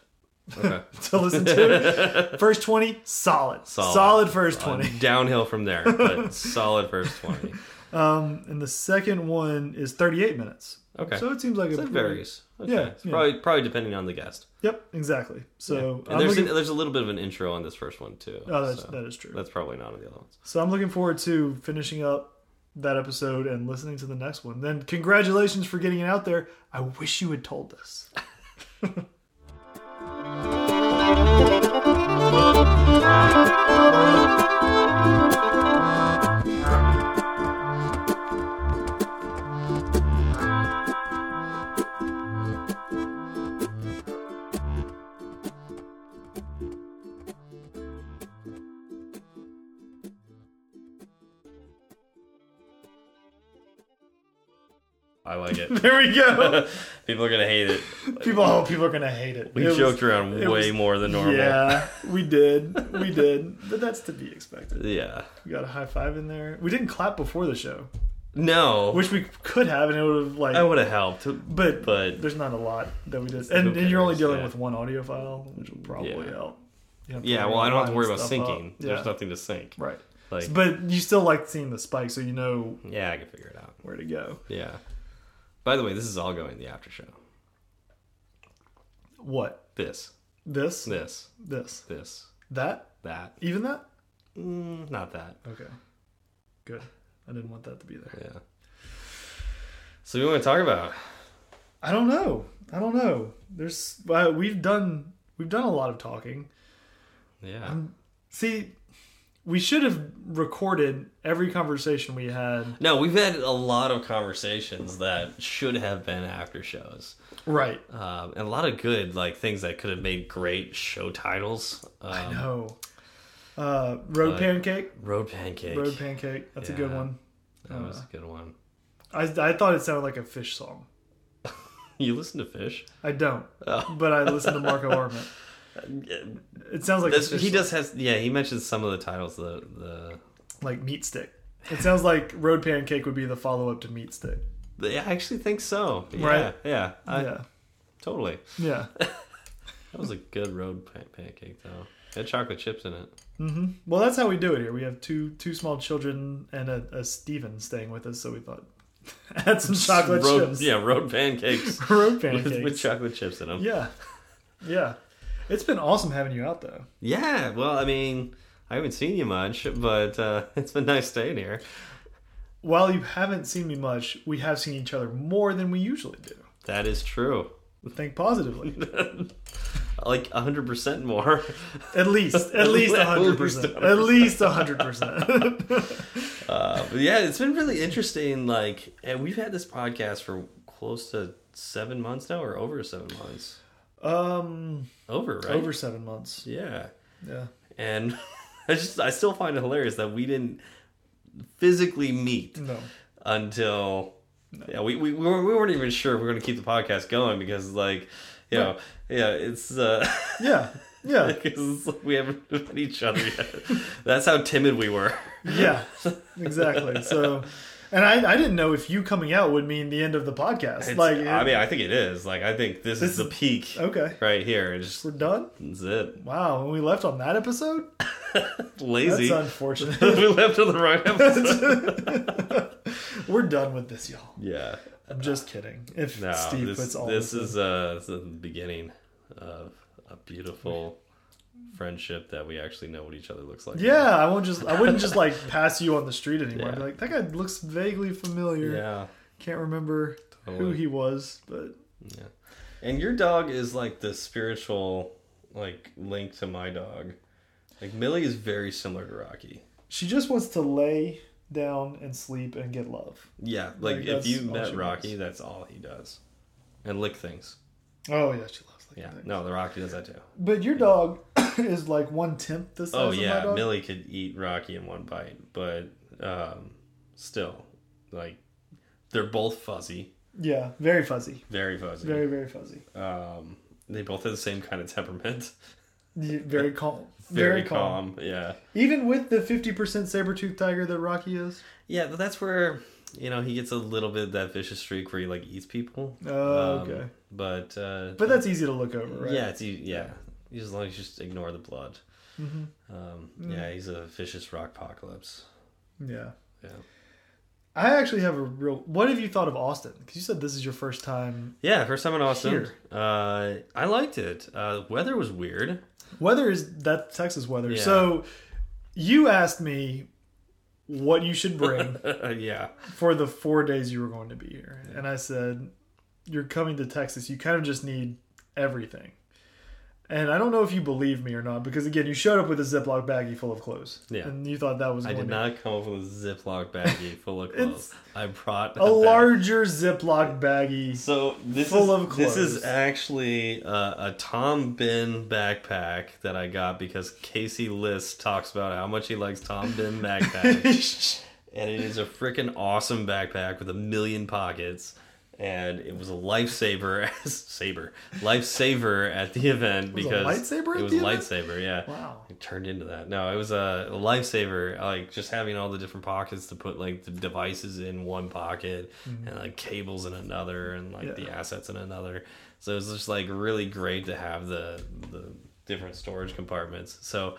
S1: Okay.
S2: to listen to. it. first twenty, solid,
S1: Solid.
S2: solid, first twenty.
S1: Uh, Downhill from there, but solid first twenty.
S2: Um, and the second one is thirty-eight minutes.
S1: Okay.
S2: So it seems like a
S1: So it
S2: pretty-
S1: varies. Okay.
S2: Yeah,
S1: It's
S2: yeah.
S1: probably probably depending on the guest.
S2: Yep, exactly. So
S1: And
S2: I'm
S1: there's
S2: looking-
S1: an, there's a little bit of an intro on this first one too.
S2: Oh, that's,
S1: so
S2: that is true.
S1: that's probably not on the other ones.
S2: So I'm looking forward to finishing up that episode and listening to the next one. Then congratulations for getting it out there. I wish you had told us.
S1: I like it.
S2: There we go.
S1: people are gonna hate it.
S2: people, oh, people are gonna hate it.
S1: We
S2: It was-
S1: joked around
S2: it
S1: way
S2: was-
S1: more than normal.
S2: Yeah, we did. We did. But that's to be expected.
S1: Yeah.
S2: We got a high five in there. We didn't clap before the show,
S1: No,
S2: which we could have, and it would have like.
S1: I would have helped,
S2: but,
S1: but
S2: there's not a lot that we did, and, and you're only
S1: cares?
S2: dealing
S1: Yeah.
S2: with one audio file, which will probably
S1: Yeah.
S2: help. You don't
S1: yeah. Well, I don't have to worry about
S2: stuff up.
S1: syncing.
S2: Yeah.
S1: There's nothing to sync.
S2: Right.
S1: Like,
S2: But you still like seeing the spike, so you know
S1: yeah, I can figure it out.
S2: where to go.
S1: Yeah. By the way, this is all going in the after show.
S2: What?
S1: This,
S2: This?
S1: this,
S2: This?
S1: this,
S2: That?
S1: that.
S2: Even that?
S1: Mm, not that.
S2: Okay. Good. I didn't want that to be there.
S1: Yeah. So we want to talk about.
S2: I don't know. I don't know. There's uh, we've done we've done a lot of talking.
S1: Yeah.
S2: Um, See, we should have recorded every conversation we had.
S1: no, we've had a lot of conversations that should have been after shows,
S2: Right.
S1: um, and a lot of good like things that could have made great show titles. Um,
S2: No. Uh, road
S1: uh,
S2: pancake.
S1: Road pancake.
S2: Road uh. pancake. That's a good
S1: Yeah.
S2: one.
S1: that was a good one.
S2: I I thought it sounded like a fish song.
S1: You listen to Fish?
S2: I don't,
S1: Oh.
S2: but I listen to Marco Arment. It sounds like a
S1: That's,
S2: fish
S1: he
S2: song,
S1: does has yeah. He mentions some of the titles. The the
S2: like meat stick. It sounds like road pancake would be the follow up to meat stick.
S1: They- I actually think so. Yeah,
S2: Right.
S1: Yeah. I,
S2: yeah.
S1: Totally.
S2: Yeah.
S1: That was a good road pan- pancake though. It had chocolate chips in it.
S2: hmm Well, that's how we do it here. We have two two small children and a, a Steven staying with us, so we thought add some chocolate
S1: road,
S2: chips.
S1: Yeah, road pancakes.
S2: Road
S1: with,
S2: pancakes.
S1: with chocolate chips in them.
S2: yeah. Yeah. It's been awesome having you out though.
S1: Yeah, well, I mean, I haven't seen you much, but uh, it's been nice staying here.
S2: While you haven't seen me much, we have seen each other more than we usually do.
S1: That is true.
S2: Think positively.
S1: Like 100% more.
S2: At least, at least
S1: At least
S2: hundred percent. At least hundred percent.
S1: Uh, but yeah, it's been really interesting. Like, and we've had this podcast for close to seven months now, or over seven months.
S2: Um,
S1: Over, right?
S2: over seven months.
S1: Yeah.
S2: Yeah.
S1: And I just, I still find it hilarious that we didn't physically meet
S2: No.
S1: until yeah we, we we weren't we weren't even sure if we were going to keep the podcast going because like you know yeah it's uh
S2: Yeah. Yeah.
S1: because we haven't met each other yet that's how timid we were
S2: Yeah, exactly. So, and I, I didn't know if you coming out would mean the end of the podcast.
S1: It's-
S2: like,
S1: i mean i think it is like i think this, is
S2: This
S1: the
S2: is- Oh,
S1: peak
S2: okay,
S1: right here it's just
S2: we're done.
S1: that's it
S2: Wow, when we left on that episode,
S1: lazy
S2: that's unfortunate.
S1: we left on the wrong episode
S2: we're done with this, y'all.
S1: yeah
S2: I'm just kidding. If
S1: no
S2: Steve
S1: this,
S2: puts all
S1: this
S2: this,
S1: is uh this is the beginning of a beautiful friendship that we actually know what each other looks like
S2: yeah, I won't just I wouldn't just like pass you on the street anymore. I'd be
S1: Yeah.
S2: like, that guy looks vaguely familiar.
S1: yeah
S2: Can't remember who
S1: Totally.
S2: he was, but
S1: Yeah. And your dog is like the spiritual like link to my dog. Like Millie is very similar to Rocky.
S2: she just wants to lay down and sleep and get love.
S1: Yeah, like, if
S2: Like, that's
S1: you
S2: all
S1: met
S2: she
S1: Rocky, that's all he does. And lick things.
S2: Oh yeah, she loves like
S1: Yeah.
S2: that.
S1: No, the Rocky does that too.
S2: But your dog is like one tenth the size
S1: Oh
S2: of my
S1: yeah,
S2: dog.
S1: Millie could eat Rocky in one bite, but um still like they're both fuzzy,
S2: Yeah, very fuzzy.
S1: very fuzzy.
S2: Very, very fuzzy.
S1: Um they both have the same kind of temperament.
S2: Y- Very calm.
S1: Very, calm. Yeah.
S2: Even with the 50% saber-toothed tiger that Rocky is.
S1: Yeah, but that's where you know he gets a little bit of that vicious streak where he like eats people. Um,
S2: Oh, okay.
S1: But uh,
S2: But that's easy to look over, right?
S1: yeah, it's e- yeah. As long as you just ignore the blood.
S2: Mm-hmm.
S1: Um,
S2: Mm.
S1: Yeah, he's a vicious rock apocalypse.
S2: Yeah.
S1: Yeah,
S2: I actually have a real... What have you thought of Austin? Because you said this is your first time.
S1: yeah. First time in Austin.
S2: Here.
S1: Uh, I liked it. Uh, the weather was weird.
S2: Weather is... that Texas weather.
S1: Yeah.
S2: So you asked me what you should bring
S1: yeah,
S2: for the four days you were going to be here. And I said, You're coming to Texas. You kind of just need everything. And I don't know if you believe me or not, because again, you showed up with a Ziploc baggie full of clothes.
S1: Yeah.
S2: And you thought that was
S1: I
S2: going
S1: did
S2: to
S1: not come up with a Ziploc baggie full of
S2: It's
S1: clothes. I brought
S2: a
S1: bag-
S2: larger Ziploc baggie.
S1: So this
S2: Full
S1: is
S2: of
S1: this
S2: clothes.
S1: is actually uh, a Tom Bin backpack that I got because Casey List talks about how much he likes Tom Bin backpacks, and it is a freaking awesome backpack with a million pockets, and it was a lifesaver saber lifesaver at the event
S2: was a
S1: because
S2: lightsaber at
S1: it was
S2: the event?
S1: lightsaber, yeah.
S2: wow.
S1: It turned into that. No, it was a lifesaver. Like just having all the different pockets to put like the devices in one pocket and like cables in another and like the
S2: Mm-hmm. Yeah.
S1: assets in another. So it was just like really great to have the the different storage compartments. So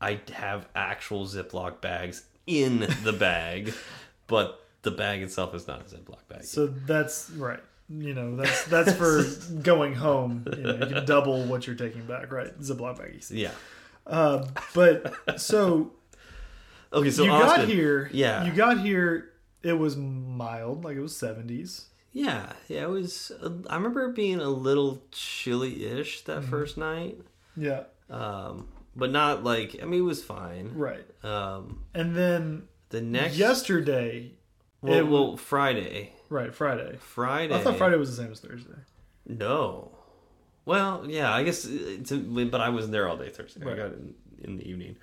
S1: I have actual Ziploc bags in the bag, but the bag itself is not a Ziploc bag.
S2: So that's right. you know that's that's for going home. You, know, you can double what you're taking back, right? Ziploc baggies.
S1: Yeah.
S2: Uh, but so
S1: Okay, so
S2: you
S1: Austin,
S2: got here.
S1: Yeah.
S2: you got here. It was mild, like it was 70s.
S1: Yeah, yeah, it was. uh, I remember it being a little chilly-ish that
S2: Mm-hmm.
S1: first night,
S2: Yeah,
S1: um, but not like. I mean, it was fine.
S2: right.
S1: Um,
S2: And then
S1: the next,
S2: yesterday,
S1: well,
S2: it-
S1: well, Friday,
S2: right? Friday.
S1: Friday.
S2: I thought Friday was the same as Thursday.
S1: No. Well, yeah, I guess. It's, but I wasn't there all day Thursday. I
S2: Right.
S1: got it in, in the evening.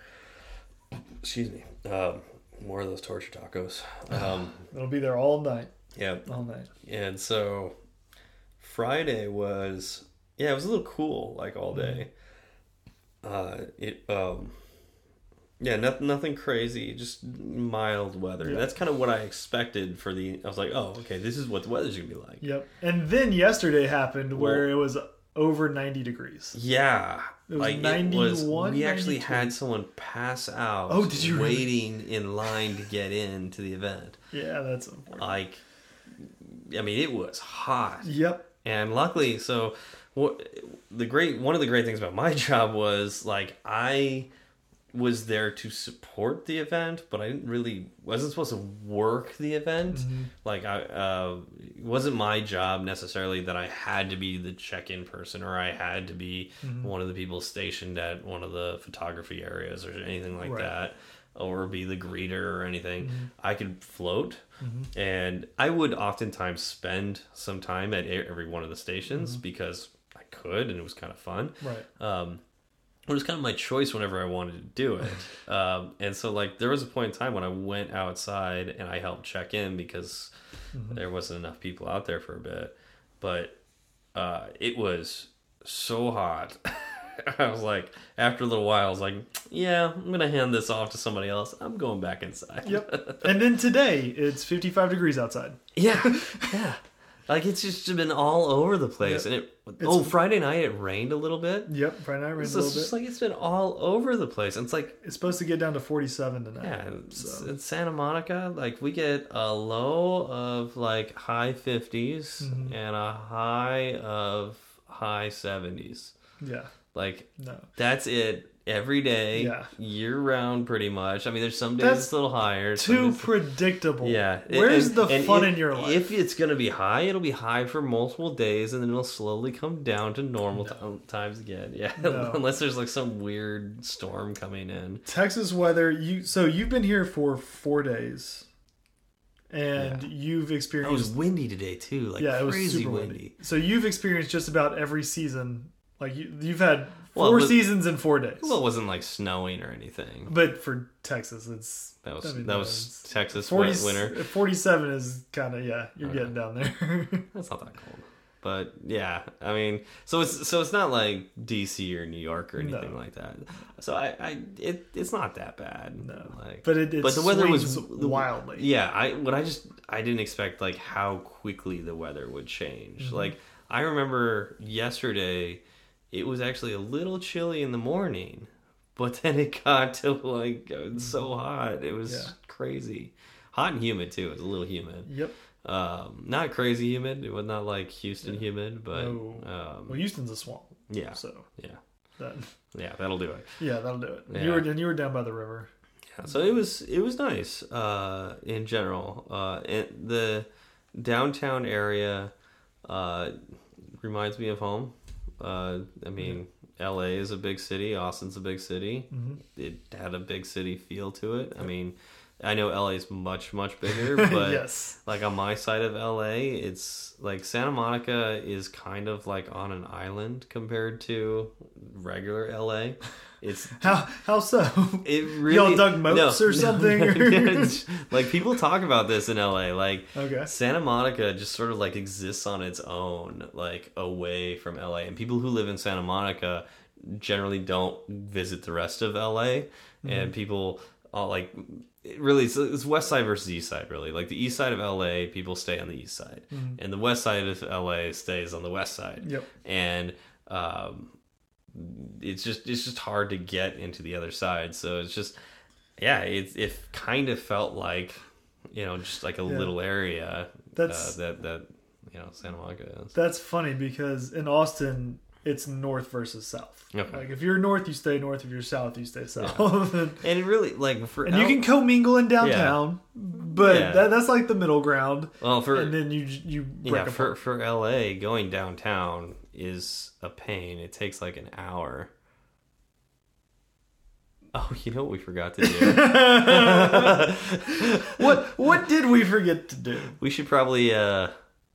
S1: Excuse me. Um, more of those torture tacos. Um,
S2: It'll be there all night,
S1: yeah,
S2: all night.
S1: And so Friday was yeah, it was a little cool like all day. Uh it um yeah, nothing nothing crazy, just mild weather. That's kind of what I expected for the I was like, "Oh, okay, this is what the weather's going to be like."
S2: Yep. And then yesterday happened where it was over 90 degrees.
S1: Yeah.
S2: It was
S1: like
S2: 91,
S1: we actually
S2: 92.
S1: had someone pass out
S2: Oh, did you really?
S1: waiting in line to get in to the event.
S2: Yeah, that's unfortunate.
S1: Like I mean, it was hot.
S2: Yep.
S1: and luckily so what the great one of the great things about my job was like i was there to support the event but i didn't really wasn't supposed to work the event like i uh, it wasn't my job necessarily that i had to be the check-in person or i had to be one of the people stationed at one of the photography areas or anything like
S2: Right.
S1: that or be the greeter or anything. I could float, and I would oftentimes spend some time at e- every one of the stations because I could, and it was kind of fun.
S2: Right.
S1: Um, it was kind of my choice whenever I wanted to do it. um, and so, like, there was a point in time when I went outside and I helped check in because
S2: Mm-hmm.
S1: there wasn't enough people out there for a bit. But uh, it was so hot. I was like, after a little while, I was like, yeah, I'm going to hand this off to somebody else. I'm going back inside.
S2: Yep. and then today it's 55 degrees outside.
S1: yeah. Yeah. Like, it's just been all over the place. And it, oh, Friday night, it rained a little bit.
S2: Yep. Friday night rained
S1: So
S2: a
S1: it's
S2: little
S1: just
S2: bit.
S1: like it's been all over the place. And it's like
S2: it's supposed to get down to 47 tonight.
S1: Yeah, in- in Santa Monica, like we get a low of like high 50s
S2: Mm-hmm.
S1: and a high of high 70s.
S2: Yeah.
S1: Like
S2: No.
S1: that's it every day,
S2: Yeah.
S1: year round, pretty much. I mean, there's some days
S2: That's
S1: it's a little higher. some
S2: Too
S1: days-
S2: predictable.
S1: yeah. it-
S2: Where's
S1: and-
S2: the
S1: and
S2: fun
S1: if-
S2: in your life?
S1: If it's going to be high, it'll be high for multiple days and then it'll slowly come down to normal ti- times again. Yeah.
S2: No.
S1: Unless there's like some weird storm coming in.
S2: Texas weather, you so you've been here for 4 days. And you've
S1: It was
S2: experienced
S1: windy today too, like
S2: yeah, it was
S1: crazy
S2: super windy.
S1: windy.
S2: So you've experienced just about every season. Like you, you've had
S1: Well,
S2: four
S1: but-
S2: seasons in 4 days.
S1: Well, it wasn't like snowing or anything.
S2: But for Texas, it's
S1: That was
S2: I mean,
S1: that
S2: no,
S1: was
S2: it's-
S1: Texas
S2: 40,
S1: wet winter.
S2: 47 is kind of yeah, you're getting down there.
S1: That's not that cold. But yeah, I mean, so it's so it's not like DC or New York or anything like that. So I, I it, it's not that bad. No, like,
S2: but it, it
S1: but the weather was
S2: swings wildly.
S1: Yeah, I what I just I didn't expect like how quickly the weather would change.
S2: Mm-hmm.
S1: Like I remember yesterday, it was actually a little chilly in the morning, but then it got to like it's so hot. It was
S2: Mm-hmm. Yeah.
S1: crazy, hot and humid too. It was a little humid.
S2: Yep.
S1: Um, not crazy humid. It was not like Houston humid, but
S2: No.
S1: um,
S2: Oh. Well, Houston's a swamp,
S1: yeah,
S2: so
S1: yeah,
S2: that
S1: yeah. That'll do it.
S2: yeah, that'll do it.
S1: Yeah.
S2: You were and you were down by the river.
S1: Yeah, so it was it was nice uh, in general. Uh, and the downtown area uh, reminds me of home. Uh, I mean, L.A. is a big city. Austin's a big city. It had a big city feel to it. I mean, I know L.A. is much much bigger, but
S2: yes.
S1: like on my side of LA, it's like Santa Monica is kind of like on an island compared to regular LA. It's
S2: How how so?
S1: it really
S2: Y'all dug moats or something?
S1: it's- like people talk about this in LA. Like
S2: Okay.
S1: Santa Monica just sort of like exists on its own, like away from LA. And people who live in Santa Monica generally don't visit the rest of LA.
S2: Mm-hmm.
S1: And people all like it really it's, it's west side versus east side really like the east side of la people stay on the east side and the west side of la stays on the west side
S2: Mm-hmm. Yep.
S1: and um it's just it's just hard to get into the other side. So it's just yeah, it it kind of felt like you know just like a little area
S2: That's-
S1: uh, that that you know Santa Monica is.
S2: That's funny because in Austin, it's north versus south.
S1: Okay.
S2: Like if you're north, you stay north. If you're south, you stay south.
S1: And it really like for
S2: and you can commingle in downtown, but
S1: Yeah.
S2: that, that's like the middle ground.
S1: well for
S2: and then you you break
S1: yeah
S2: apart.
S1: for for LA going downtown is a pain. It takes like an hour. Oh, you know what we forgot to do?
S2: what what did we forget to do?
S1: we should probably uh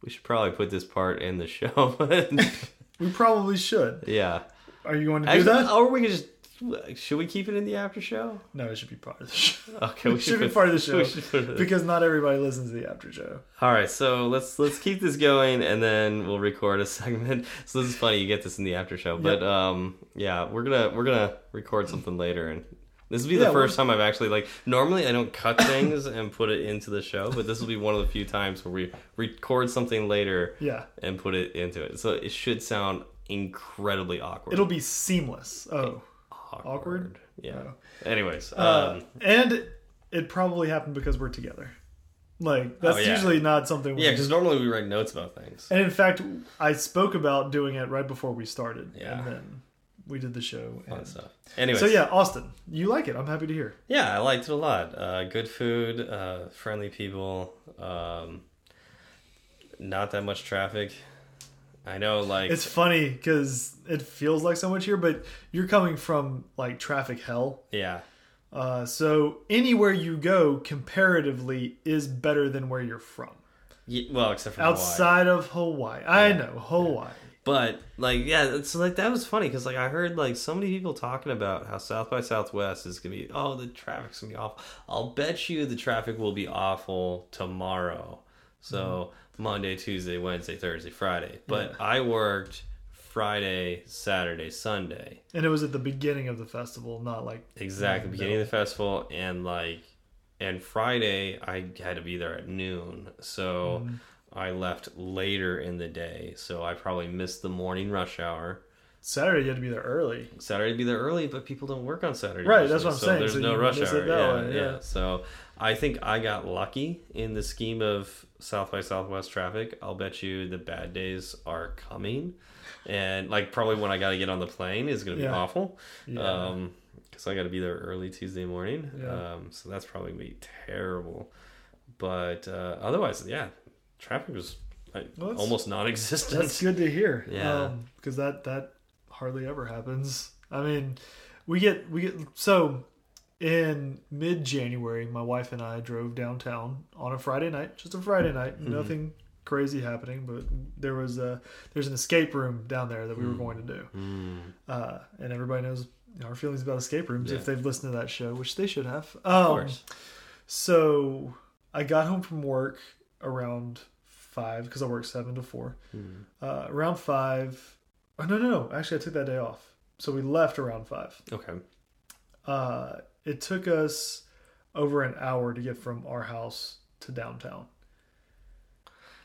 S1: we should probably put this part in the show.
S2: We probably should.
S1: yeah.
S2: Are you going to do
S1: Actually,
S2: that?
S1: or we could just should we keep it in the after show?
S2: No, it should be part of the show.
S1: Okay, we
S2: It should be
S1: put-
S2: part of the
S1: we
S2: show
S1: should put it-
S2: because not everybody listens to the after show.
S1: All right, so let's let's keep this going, and then we'll record a segment. So this is funny. You get this in the after show, but um, yeah, we're gonna we're gonna record something later, and this will be the
S2: Yeah, we're-
S1: 1st time I've actually like. Normally, I don't cut things and put it into the show, but this will be one of the few times where we record something later
S2: Yeah,
S1: and put it into it. So it should sound incredibly awkward.
S2: it'll be seamless. Oh, awkward?
S1: Yeah.
S2: Oh.
S1: Anyways,
S2: Uh,
S1: um,
S2: and it probably happened because we're together. Like that's
S1: Oh, yeah.
S2: usually not something. We,
S1: yeah, because normally we write notes about things.
S2: and in fact, I spoke about doing it right before we started,
S1: Yeah.
S2: and then we did the show.
S1: and
S2: And...
S1: stuff. Anyways,
S2: So yeah, Austin, you like it? I'm happy to hear.
S1: Yeah, I liked it a lot. Uh, good food, uh, friendly people, um, not that much traffic. I know, like,
S2: It's funny because it feels like so much here, but you're coming from like traffic hell.
S1: yeah,
S2: Uh, so anywhere you go, comparatively, is better than where you're from.
S1: Ye- well, except for Hawaii.
S2: Outside of Hawaii, I know Hawaii.
S1: But like, yeah, it's like that was funny because like I heard like so many people talking about how South by Southwest is gonna be oh the traffic's gonna be awful. I'll bet you the traffic will be awful tomorrow. So
S2: Mm-hmm.
S1: Monday, Tuesday, Wednesday, Thursday, Friday. But I worked Friday, Saturday, Sunday.
S2: And it was at the beginning of the festival, not like
S1: Exactly, beginning
S2: uh,
S1: of the festival, and like, and Friday I had to be there at noon, so
S2: Mm-hmm.
S1: I left later in the day, so I probably missed the morning rush hour.
S2: Saturday. You had to be there early.
S1: Saturday be there early, but people don't work on Saturday,
S2: Right, that's what I'm
S1: so
S2: saying,
S1: There's
S2: so
S1: no
S2: you
S1: rush
S2: miss
S1: hour.
S2: it that
S1: Yeah,
S2: way,
S1: yeah,
S2: yeah.
S1: So I think I got lucky in the scheme of South by Southwest traffic. I'll bet you the bad days are coming, and like probably when I got to get on the plane is going to be
S2: Yeah.
S1: awful.
S2: Yeah.
S1: Um, because I got to be there early Tuesday morning.
S2: Yeah.
S1: Um, so that's probably gonna be terrible. But uh, otherwise, yeah, traffic was like,
S2: Well, that's-
S1: almost non-existent.
S2: That's good to hear.
S1: Yeah.
S2: because that that hardly ever happens. I mean, we get we get so in mid January, my wife and I drove downtown on a Friday night, just a Friday night,
S1: Mm-hmm.
S2: nothing crazy happening, but there was a there's an escape room down there that we were going to do,
S1: Mm.
S2: uh, and everybody knows our feelings about escape rooms
S1: Yeah.
S2: if they've listened to that show, which they should have. Um,
S1: Of course.
S2: so I got home from work around five because I work seven to four.
S1: Mm.
S2: Uh, around five. Oh, no, no, no. Actually, I took that day off. So we left around five.
S1: Okay.
S2: Uh, it took us over an hour to get from our house to downtown.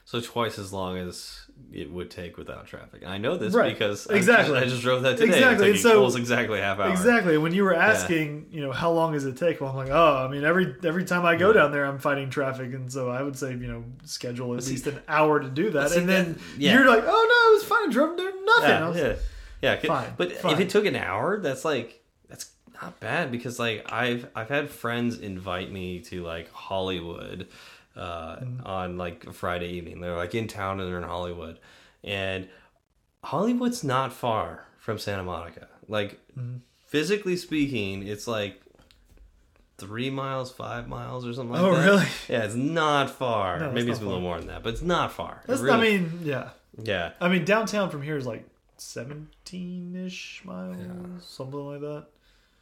S1: So twice as long as it would take without traffic. And I know this
S2: Right.
S1: because
S2: Exactly.
S1: I, just, I just drove that today.
S2: Exactly.
S1: It
S2: And
S1: took
S2: so-
S1: almost exactly a half hour.
S2: Exactly. When you were asking, you know, how long does it take? Well, I'm like, oh, I mean, every every time I go down there, I'm fighting traffic, and so I would say, you know, schedule at least an hour to do that,
S1: see,
S2: and then
S1: that- yeah.
S2: you're like, oh no, it was fine. I drove there, nothing. I
S1: Yeah.
S2: was-
S1: Yeah. yeah. c-
S2: Fine,
S1: But if
S2: fine.
S1: it took an hour, that's like that's not bad because like I've I've had friends invite me to like Hollywood uh,
S2: Mm-hmm.
S1: on like a Friday evening. They're like in town and they're in Hollywood, and Hollywood's not far from Santa Monica. Like
S2: Mm-hmm.
S1: physically speaking, it's like three miles, five miles, or something. like
S2: Oh,
S1: that.
S2: really?
S1: Yeah, it's not far.
S2: No, it's
S1: Maybe
S2: not
S1: it's a little
S2: far.
S1: more than that, but it's not far. It
S2: That's, I
S1: really-
S2: mean, yeah.
S1: yeah.
S2: I mean, downtown from here is like 17 ish miles, something like that.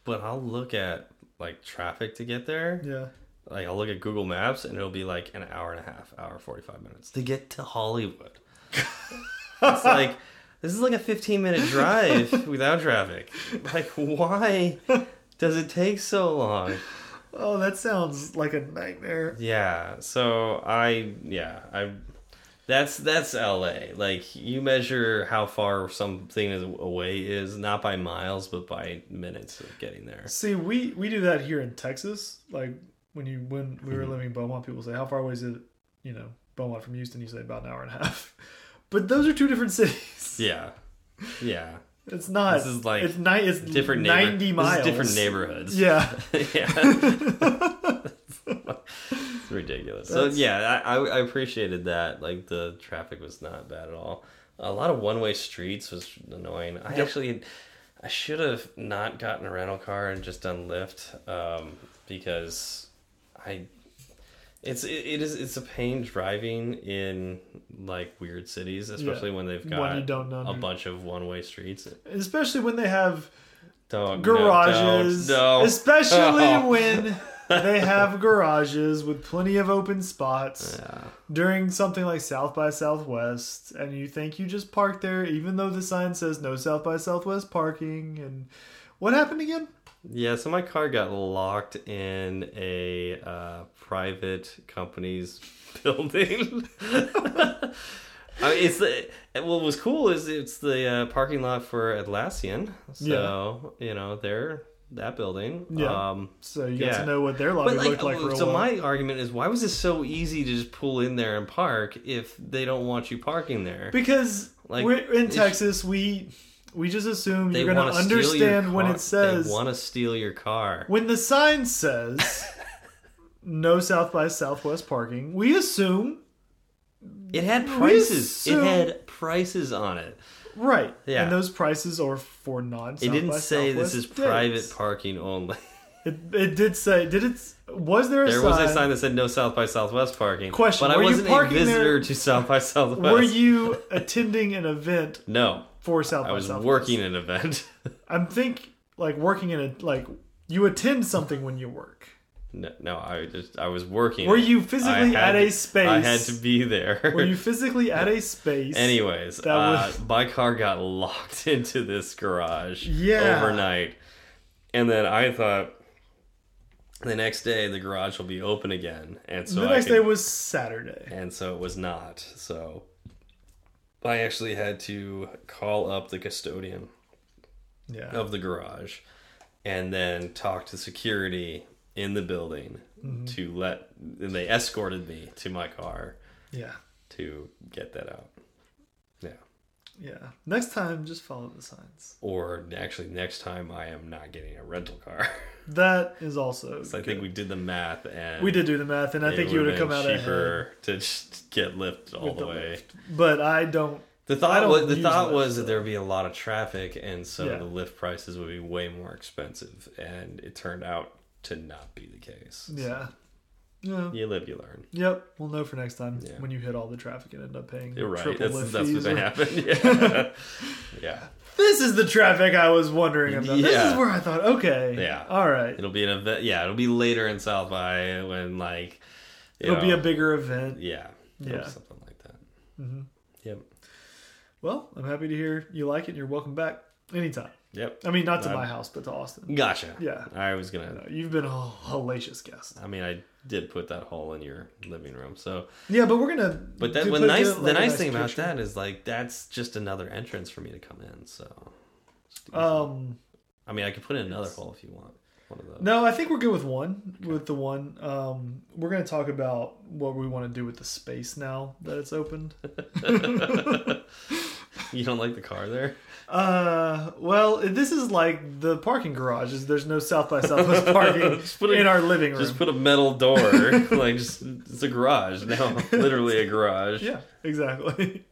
S1: But I'll look at like traffic to get there.
S2: Yeah.
S1: Like I'll look at Google Maps and it'll be like an hour and a half, hour forty five minutes to get to Hollywood. it's like this is like a fifteen minute drive without traffic. Like why does it take so long?
S2: Oh, that sounds like a nightmare.
S1: Yeah. So I yeah, I that's that's LA. Like you measure how far something is away is not by miles but by minutes of getting there.
S2: See, we we do
S1: Mm-hmm.
S2: that here in Texas. Like when you when we were living in Beaumont, people say, "How far away is it?" You know, Beaumont from Houston, you say about an hour and a half. But those are two different cities.
S1: Yeah. Yeah.
S2: It's not.
S1: This is like
S2: it's ni- it's
S1: Different neighbor- this
S2: ninety
S1: is
S2: miles.
S1: different neighborhoods.
S2: Yeah,
S1: yeah. it's ridiculous.
S2: That's-
S1: So yeah, I, I I appreciated that. Like the traffic was not bad at all. A lot of one way streets was annoying. I
S2: Yep.
S1: actually I should have not gotten a rental car and just done Lyft um, because I it's it, it is it's a pain driving in like weird cities, especially when they've
S2: When
S1: got
S2: you don't know.
S1: a bunch of one way streets.
S2: especially when they have
S1: Don't no, don't,
S2: garages.
S1: No,
S2: especially
S1: Oh.
S2: when they have garages with plenty of open spots
S1: Yeah.
S2: during something like South by Southwest, and you think you just park there, even though the sign says no South by Southwest parking. And what happened again?
S1: Yeah, so my car got locked in a uh, private company's building. I mean, it's the what was cool is it's the uh, parking lot for Atlassian. So you know they're that building.
S2: Yeah.
S1: Um,
S2: So you got
S1: Yeah.
S2: to know what their lobby
S1: but like,
S2: looked like for a
S1: so
S2: while.
S1: my argument is, why was it so easy to just pull in there and park if they don't want you parking there?
S2: because
S1: Like,
S2: we're in
S1: it's-
S2: Texas, we we just assume
S1: They
S2: you're going to
S1: wanna steal your
S2: understand when
S1: car-
S2: it says
S1: they want to steal your car.
S2: when the sign says no South by Southwest parking, we assume
S1: It had prices.
S2: assume-
S1: It had prices on it.
S2: right,
S1: Yeah.
S2: and those prices are for non.
S1: It didn't say this is private parking only.
S2: It, it did say. Did it? Was there a
S1: There
S2: sign?
S1: was a sign that said no South by Southwest parking.
S2: Question,
S1: but I
S2: were you
S1: wasn't a
S2: parking
S1: visitor
S2: there-
S1: to South by Southwest.
S2: Were you attending an event
S1: No,
S2: for South
S1: I
S2: by
S1: was
S2: Southwest?
S1: working an event.
S2: I'm think like working in a like you attend something when you work.
S1: no, no, I just I was working.
S2: Were you
S1: I
S2: physically
S1: had
S2: at a
S1: to-
S2: space?
S1: I had to be there.
S2: Were you physically at a space?
S1: Anyways,
S2: That
S1: uh,
S2: was-
S1: my car got locked into this garage
S2: Yeah.
S1: overnight. And then I thought the next day the garage will be open again. And so
S2: the
S1: I
S2: next
S1: could
S2: day was Saturday.
S1: and so it was not. So I actually had to call up the custodian
S2: Yeah.
S1: of the garage and then talk to security in the building
S2: Mm-hmm.
S1: to let and they escorted me to my car
S2: Yeah.
S1: to get that out. Yeah.
S2: Yeah. Next time, just follow the signs.
S1: Or actually next time I am not getting a rental car.
S2: That is also.
S1: so I think we did the math and
S2: we did do the math, and I
S1: it
S2: think you would have
S1: been
S2: come out ahead.
S1: cheaper to just get lift all
S2: With
S1: the
S2: the
S1: way.
S2: But I don't.
S1: The
S2: I
S1: thought
S2: don't
S1: was, the
S2: use
S1: thought
S2: Lyft,
S1: was that there would be a lot of traffic, and so
S2: Yeah.
S1: the lift prices would be way more expensive. And it turned out to not be the case.
S2: Yeah. Yeah.
S1: You live, you learn.
S2: Yep. We'll know for next time
S1: Yeah.
S2: when you hit all the traffic and end up paying
S1: You're right.
S2: triple
S1: That's,
S2: lift
S1: that's
S2: fees.
S1: what's
S2: or-
S1: gonna happen. Yeah, yeah.
S2: This is the traffic I was wondering about. This is
S1: Yeah.
S2: where I thought, okay.
S1: Yeah.
S2: All right.
S1: It'll be an event. Yeah, it'll be later in South by when like you
S2: It'll be a
S1: know,
S2: bigger event.
S1: yeah,
S2: Yeah. Mm-hmm.
S1: something like that. Yep,
S2: Well, I'm happy to hear you like it and you're welcome back anytime.
S1: yep.
S2: I mean, not to
S1: Uh,
S2: my house, but to Austin.
S1: Gotcha.
S2: Yeah.
S1: I was gonna.
S2: No, You've been a hellacious guest.
S1: I mean, I did put that hole in your living room, so.
S2: Yeah, but we're gonna.
S1: But that
S2: do-
S1: when
S2: put it
S1: nice,
S2: to,
S1: the
S2: like, a
S1: nice, thing about
S2: picture.
S1: that is like that's just another entrance for me to come in. So,
S2: Um,
S1: I mean, I could put in another hole if you want one of those.
S2: no, I think we're good with one. With the one, um, we're gonna talk about what we want to do with the space now that it's opened.
S1: You don't like the car there?
S2: Uh, well, this is like the parking garages. There's no South by Southwest parking
S1: Just put it-
S2: in our living room.
S1: Just put a metal door, like just it's a garage now, literally a garage.
S2: yeah, exactly.